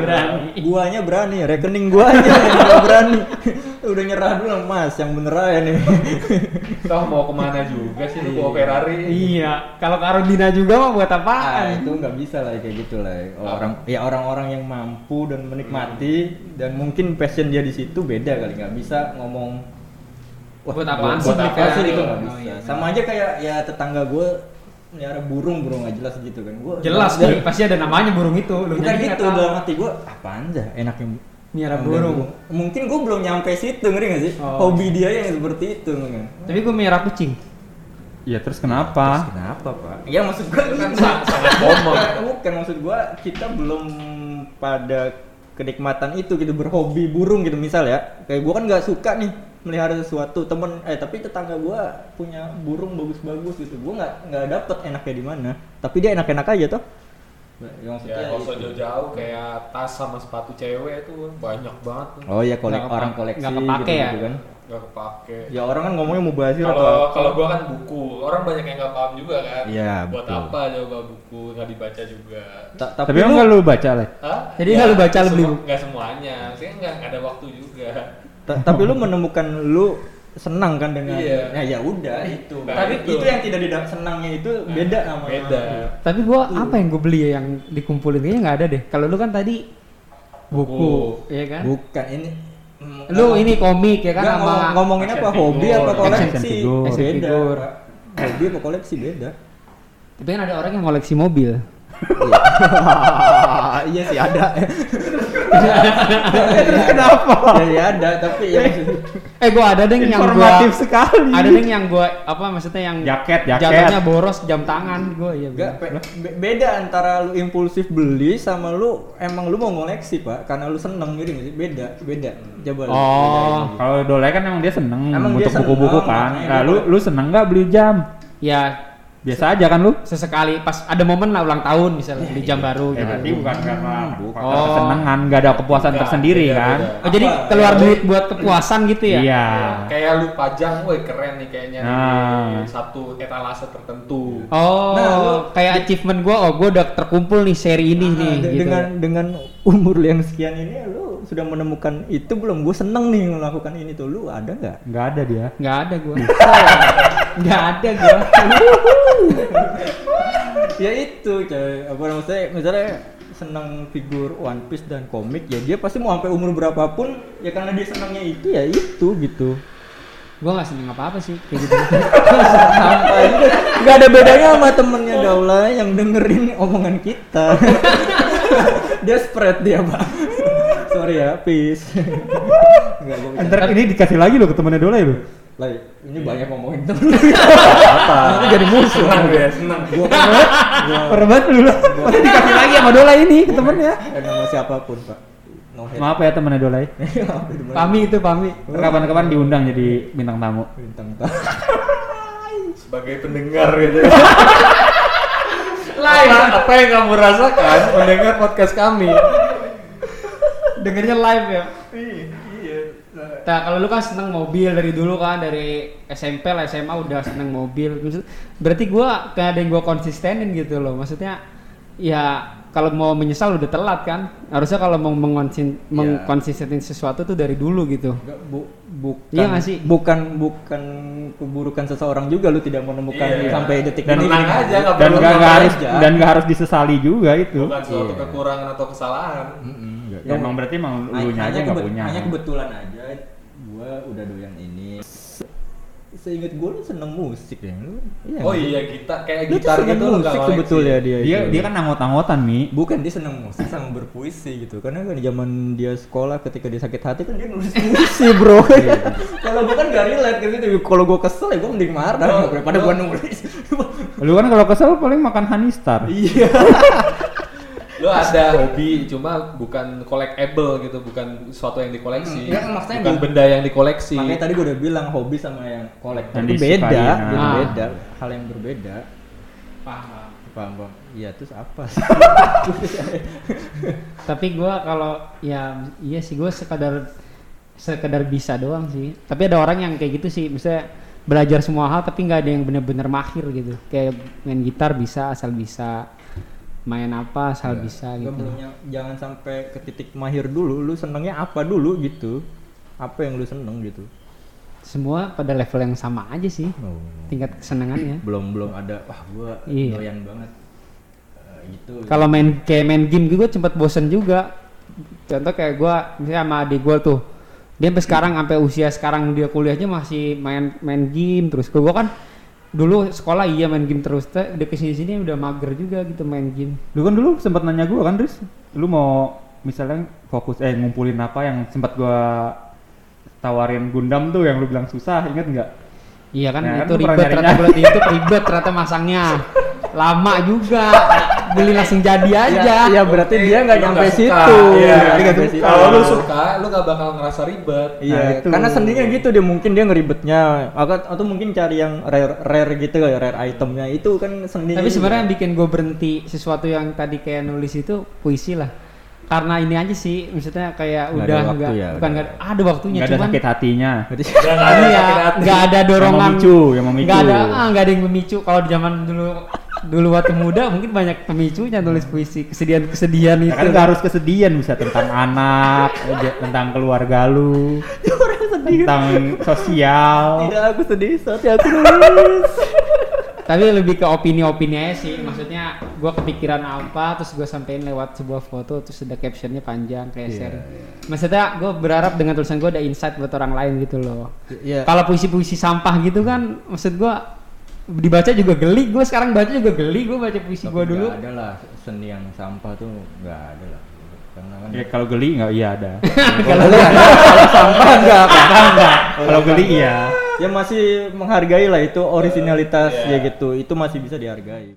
Speaker 1: berani.
Speaker 4: guanya berani rekening guanya yang nggak berani udah nyerah dulu mas yang bener aja nih
Speaker 2: Toh mau kemana juga sih lu bawa Ferrari?
Speaker 1: Iya, kalau Karolina juga mah buat
Speaker 4: ah,
Speaker 1: apaan?
Speaker 4: itu nggak bisa lah kayak gitu lah orang ya orang-orang yang mampu dan menikmati
Speaker 1: Hmm.
Speaker 4: dan mungkin passion dia di situ beda kali nggak bisa ngomong Wah,
Speaker 1: Buat apaan sih beli
Speaker 4: buat apa sih
Speaker 1: Ferrari?
Speaker 4: itu nggak bisa
Speaker 1: Oh, iya.
Speaker 4: sama aja kayak ya tetangga gue melihara burung burung nggak jelas gitu kan gue
Speaker 1: Jelas nih,
Speaker 4: dan,
Speaker 1: pasti ada namanya burung itu. Lu
Speaker 4: bukan gitu dalam hati gue apaan aja enaknya
Speaker 1: Melihara
Speaker 4: melihara
Speaker 1: burung.
Speaker 4: mungkin gue belum nyampe situ ngeri nggak sih
Speaker 1: Oh.
Speaker 4: hobi dia yang seperti itu kan
Speaker 1: Tapi gue merah kucing.
Speaker 5: Ya terus kenapa?
Speaker 4: Kenapa pak? Ya maksud gua
Speaker 2: Itu kan
Speaker 4: gitu.
Speaker 2: sa- sangat common.
Speaker 4: Bukan, bukan, maksud gua kita belum pada kenikmatan itu gitu berhobi burung gitu misal ya kayak gua kan nggak suka nih melihara sesuatu temen eh tapi tetangga gua punya burung bagus-bagus gitu gua nggak nggak dapet enaknya di mana tapi dia enak-enak aja toh ya, maksudnya
Speaker 2: Ya, kalau
Speaker 1: gitu.
Speaker 2: usah
Speaker 4: itu.
Speaker 2: jauh-jauh kayak tas sama sepatu cewek tuh banyak banget tuh.
Speaker 4: oh ya kolek
Speaker 1: Nggak kepa-
Speaker 4: orang koleksi
Speaker 1: nggak kepake ya?
Speaker 4: kan
Speaker 2: Gak kepake.
Speaker 4: ya orang kan ngomongnya mau bahas
Speaker 1: Iya,
Speaker 2: Kalau kalau gua kan buku, orang banyak yang nggak paham juga kan.
Speaker 4: Iya,
Speaker 2: Buat
Speaker 4: betul.
Speaker 2: apa coba buku nggak dibaca juga?
Speaker 4: tapi,
Speaker 5: Tapi
Speaker 4: lu-
Speaker 5: emang nggak lu baca lah.
Speaker 2: Hah?
Speaker 1: Jadi nggak lu baca, lu beli buku?
Speaker 2: Nggak semuanya, maksudnya nggak nggak ada waktu juga.
Speaker 4: Ta- tapi lu menemukan lu senang kan dengan
Speaker 2: Iya.
Speaker 4: ya ya udah itu
Speaker 2: Nah,
Speaker 4: tapi
Speaker 2: itu. Nah,
Speaker 4: itu yang tidak didap senangnya itu beda sama
Speaker 2: Beda.
Speaker 1: Tapi gue apa yang gue beli ya yang dikumpulin kayaknya nggak ada deh. Kalau lu kan tadi buku, ya kan?
Speaker 4: bukan ini mm,
Speaker 1: Lu
Speaker 4: ngomong-
Speaker 1: ini komik ya kan
Speaker 4: Nggak,
Speaker 1: sama
Speaker 4: ngomong- ngomongin apa
Speaker 2: action
Speaker 4: hobi
Speaker 2: figure.
Speaker 4: apa
Speaker 5: Action
Speaker 4: koleksi Eh,
Speaker 5: figure.
Speaker 1: Action
Speaker 4: beda
Speaker 1: figure.
Speaker 4: Pak. hobi apa koleksi beda
Speaker 1: Tapi kan ada orang yang koleksi mobil.
Speaker 4: iya sih ada
Speaker 5: Terus kenapa?
Speaker 4: Ya, ya ada, tapi ya maksudnya
Speaker 1: eh gua ada deh yang gua
Speaker 5: Informatif sekali.
Speaker 1: ada deh yang gua apa maksudnya yang
Speaker 5: Jaket, jaket.
Speaker 1: jatuhnya boros jam tangan gua iya
Speaker 4: Enggak,
Speaker 1: bener.
Speaker 4: pe- be- beda antara lu impulsif beli sama lu emang lu mau ngoleksi pak karena lu seneng gitu nggak sih? beda beda coba lu
Speaker 5: Oh,
Speaker 4: bedain.
Speaker 5: kalau Dole kan emang dia seneng
Speaker 4: Emang dia
Speaker 5: untuk
Speaker 4: seneng,
Speaker 5: buku-buku kan.
Speaker 4: makanya
Speaker 5: Nah,
Speaker 4: dia-
Speaker 5: lu, lu seneng nggak beli jam?
Speaker 1: ya
Speaker 5: Biasa aja kan lu?
Speaker 1: sesekali pas ada momen lah ulang tahun misalnya beli jam baru
Speaker 5: Ya, berarti
Speaker 1: gitu.
Speaker 5: bukan karena faktor
Speaker 1: Oh.
Speaker 5: kesenangan, nggak ada kepuasan
Speaker 2: Nggak,
Speaker 4: Iya,
Speaker 5: tersendiri
Speaker 2: beda,
Speaker 5: kan?
Speaker 2: beda.
Speaker 1: Oh jadi
Speaker 4: Apa?
Speaker 1: keluar duit buat kepuasan gitu ya?
Speaker 5: Iya.
Speaker 2: Kayak lu pajang, woi keren nih kayaknya nih,
Speaker 5: Nah.
Speaker 2: di satu etalase tertentu.
Speaker 1: Oh,
Speaker 4: Nah, lu-
Speaker 1: kayak achievement gua oh gua udah terkumpul nih seri ini
Speaker 4: Nah,
Speaker 1: nih
Speaker 4: de-
Speaker 1: gitu.
Speaker 4: dengan dengan umur lu yang sekian ini lu sudah menemukan itu belum gue seneng nih melakukan ini tuh lu ada nggak
Speaker 5: Nggak ada dia.
Speaker 1: nggak ada gua. nggak ada gua.
Speaker 4: ya itu coy apa maksudnya misalnya senang figur One Piece dan komik ya dia pasti mau sampai umur berapapun ya karena dia senangnya itu ya itu gitu
Speaker 1: gua nggak seneng apa-apa sih kayak gitu.
Speaker 4: nggak ada bedanya sama temennya Daula yang dengerin omongan kita dia spread dia pak sorry ya peace nggak gue bercanda
Speaker 5: Ntar ini dikasih lagi lo ke temennya ya, Dole lu.
Speaker 4: lah ini banyak ngomongin temen apa nanti jadi musuh
Speaker 2: Senang gue, senang.
Speaker 4: gue kan
Speaker 5: Parah banget lu lah. Pasti dikasih lagi sama Dole ini ke temennya.
Speaker 4: dan sama siapapun pak no hate
Speaker 5: Maaf ya temennya Dole.
Speaker 4: Maaf, itu beneran.
Speaker 1: pami itu pami.
Speaker 5: Ntar Kapan-kapan diundang jadi bintang tamu.
Speaker 4: bintang tamu
Speaker 2: Sebagai pendengar gitu. Lain apa yang kamu rasakan mendengar podcast kami?
Speaker 1: Dengernya live ya. Nah, kalau lu kan seneng mobil dari dulu kan dari SMP lah SMA udah seneng mobil. Maksud, berarti gua kayak ada yang gua konsistenin gitu loh. Maksudnya ya kalau mau menyesal udah telat kan. Harusnya kalau mau mengonsin- mengkonsistenin sesuatu tuh dari dulu gitu.
Speaker 4: Enggak, bu- bukan
Speaker 1: Iya nggak sih?
Speaker 4: bukan bukan keburukan seseorang juga lu tidak menemukan
Speaker 2: Iya.
Speaker 4: sampai detik
Speaker 5: Dan
Speaker 4: ini
Speaker 2: tenang aja,
Speaker 4: Ya,
Speaker 2: nggak
Speaker 5: Dan
Speaker 2: perlu
Speaker 5: nggak nggak
Speaker 2: ngapain
Speaker 5: harus
Speaker 4: aja.
Speaker 5: dan nggak harus disesali juga itu.
Speaker 4: Iya.
Speaker 2: Bukan suatu kekurangan atau kesalahan.
Speaker 5: Ya, emang berarti emang lu nya
Speaker 4: Hanya-
Speaker 5: aja
Speaker 4: hanya
Speaker 5: nggak
Speaker 4: kebet-
Speaker 5: punya.
Speaker 4: hanya kebetulan aja gua udah doyan ini Se- seingat gua lu seneng musik ya lu iya
Speaker 2: Oh
Speaker 4: nggak sih?
Speaker 2: iya, gitar kayak
Speaker 4: lu tuh
Speaker 2: gitar
Speaker 4: seneng
Speaker 2: gitu lu nggak
Speaker 4: musik
Speaker 2: koleksi.
Speaker 4: sebetulnya dia
Speaker 5: Dia
Speaker 4: itu.
Speaker 5: dia kan anggot-anggotan Mi.
Speaker 4: bukan dia seneng musik sama berpuisi gitu karena kan zaman dia sekolah ketika dia sakit hati kan dia nulis puisi bro kalau gua kan gak relate gitu kalau gua kesel ya gua mending marah daripada gua nulis
Speaker 5: Lu kan kalau kesel paling makan Hanistar.
Speaker 4: iya
Speaker 2: Lu ada hobi, cuma bukan collectible gitu, bukan suatu yang dikoleksi.
Speaker 4: Hmm, Enggak, maksudnya
Speaker 2: bukan
Speaker 4: bu-
Speaker 2: benda yang dikoleksi.
Speaker 4: Makanya tadi gue udah bilang hobi sama yang kolektor
Speaker 5: Yang
Speaker 4: itu
Speaker 5: disukai,
Speaker 4: beda,
Speaker 5: nah.
Speaker 4: berbeda, hal yang berbeda.
Speaker 1: Paham.
Speaker 4: Paham, Bang? Iya, terus apa?
Speaker 1: tapi gua kalau ya iya sih gua sekadar sekadar bisa doang sih tapi ada orang yang kayak gitu sih misalnya belajar semua hal tapi nggak ada yang bener-bener mahir gitu kayak main gitar bisa asal bisa main apa asal bisa
Speaker 4: Gua
Speaker 1: gitu
Speaker 4: belum nyam- jangan sampai ke titik mahir dulu, lu senengnya apa dulu gitu. Apa yang lu seneng gitu.
Speaker 1: semua pada level yang sama aja sih
Speaker 4: Oh.
Speaker 1: tingkat kesenangannya
Speaker 4: Belum belum ada wah gua
Speaker 1: Iya.
Speaker 4: doyan banget. Eh, gitu.
Speaker 1: kalau main kayak main game gue cepet bosen juga contoh kayak gua misalnya sama adik gua tuh dia sampai sekarang sampai usia sekarang dia kuliahnya masih main main game terus Kalau gua kan dulu sekolah iya main game terus Te- udah kesini sini udah mager juga gitu main game
Speaker 5: Lu kan dulu sempat nanya gua kan, Riz. Lu mau misalnya fokus eh ngumpulin apa yang sempat gua tawarin Gundam tuh yang lu bilang susah, inget nggak?
Speaker 1: iya kan
Speaker 5: Nah, kan
Speaker 1: itu
Speaker 5: lu pernah
Speaker 1: ribet ternyata
Speaker 5: nyarinya.
Speaker 1: beli itu ribet ternyata masangnya lama juga beli langsung jadi
Speaker 5: Iya,
Speaker 1: aja
Speaker 4: Ya, ya berarti dia nggak
Speaker 2: Lu
Speaker 4: nyampe
Speaker 2: suka.
Speaker 4: situ.
Speaker 2: Iya.
Speaker 4: Dia nggak nyampe situ.
Speaker 2: Kalau lu suka, lu nggak bakal ngerasa ribet.
Speaker 4: Iya,
Speaker 5: Nah, itu.
Speaker 4: karena sendirinya gitu dia mungkin dia ngeribetnya. Atau, atau mungkin cari yang rare rare gitu ya, rare itemnya itu kan sendirinya.
Speaker 1: Tapi sebenarnya yang bikin gue berhenti sesuatu yang tadi kayak nulis itu puisi lah. Karena ini aja sih, maksudnya kayak
Speaker 4: Nggak ada
Speaker 1: udah
Speaker 4: waktu
Speaker 1: nggak
Speaker 4: ya,
Speaker 1: bukan
Speaker 4: udah.
Speaker 1: nggak ada waktunya
Speaker 5: Nggak ada
Speaker 1: cuman
Speaker 5: sakit hatinya.
Speaker 4: Berarti-
Speaker 2: Udah nggak ada
Speaker 1: iya
Speaker 2: sakit hati.
Speaker 1: nggak ada dorongan
Speaker 5: memicu, yang memicu.
Speaker 1: nggak ada ah, nggak ada yang memicu kalau di zaman dulu dulu waktu muda mungkin banyak pemicunya nulis puisi kesedihan kesedihan
Speaker 5: Ya
Speaker 1: itu
Speaker 5: kan nggak harus kesedihan bisa tentang anak, aja- tentang keluarga lu, tentang sosial.
Speaker 4: Tidak Iya, aku sedih saat aku nulis.
Speaker 1: tapi lebih ke opini-opini aja sih maksudnya gue kepikiran apa terus gue sampein lewat sebuah foto terus ada captionnya panjang kayak share maksudnya gue berharap dengan tulisan gue ada insight buat orang lain gitu loh
Speaker 4: Iya.
Speaker 1: kalau puisi-puisi sampah gitu kan maksud gue dibaca juga geli gue sekarang baca juga geli gue baca puisi gue dulu
Speaker 4: Gak ada lah seni yang sampah tuh gak ada lah.
Speaker 3: Jangan.
Speaker 5: Ya kalau geli nggak iya ada.
Speaker 4: Kalau lu kalau sampah enggak apa
Speaker 5: kalau geli iya.
Speaker 4: Ya masih menghargai lah itu originalitas
Speaker 2: Iya.
Speaker 4: ya gitu. Itu masih bisa dihargai.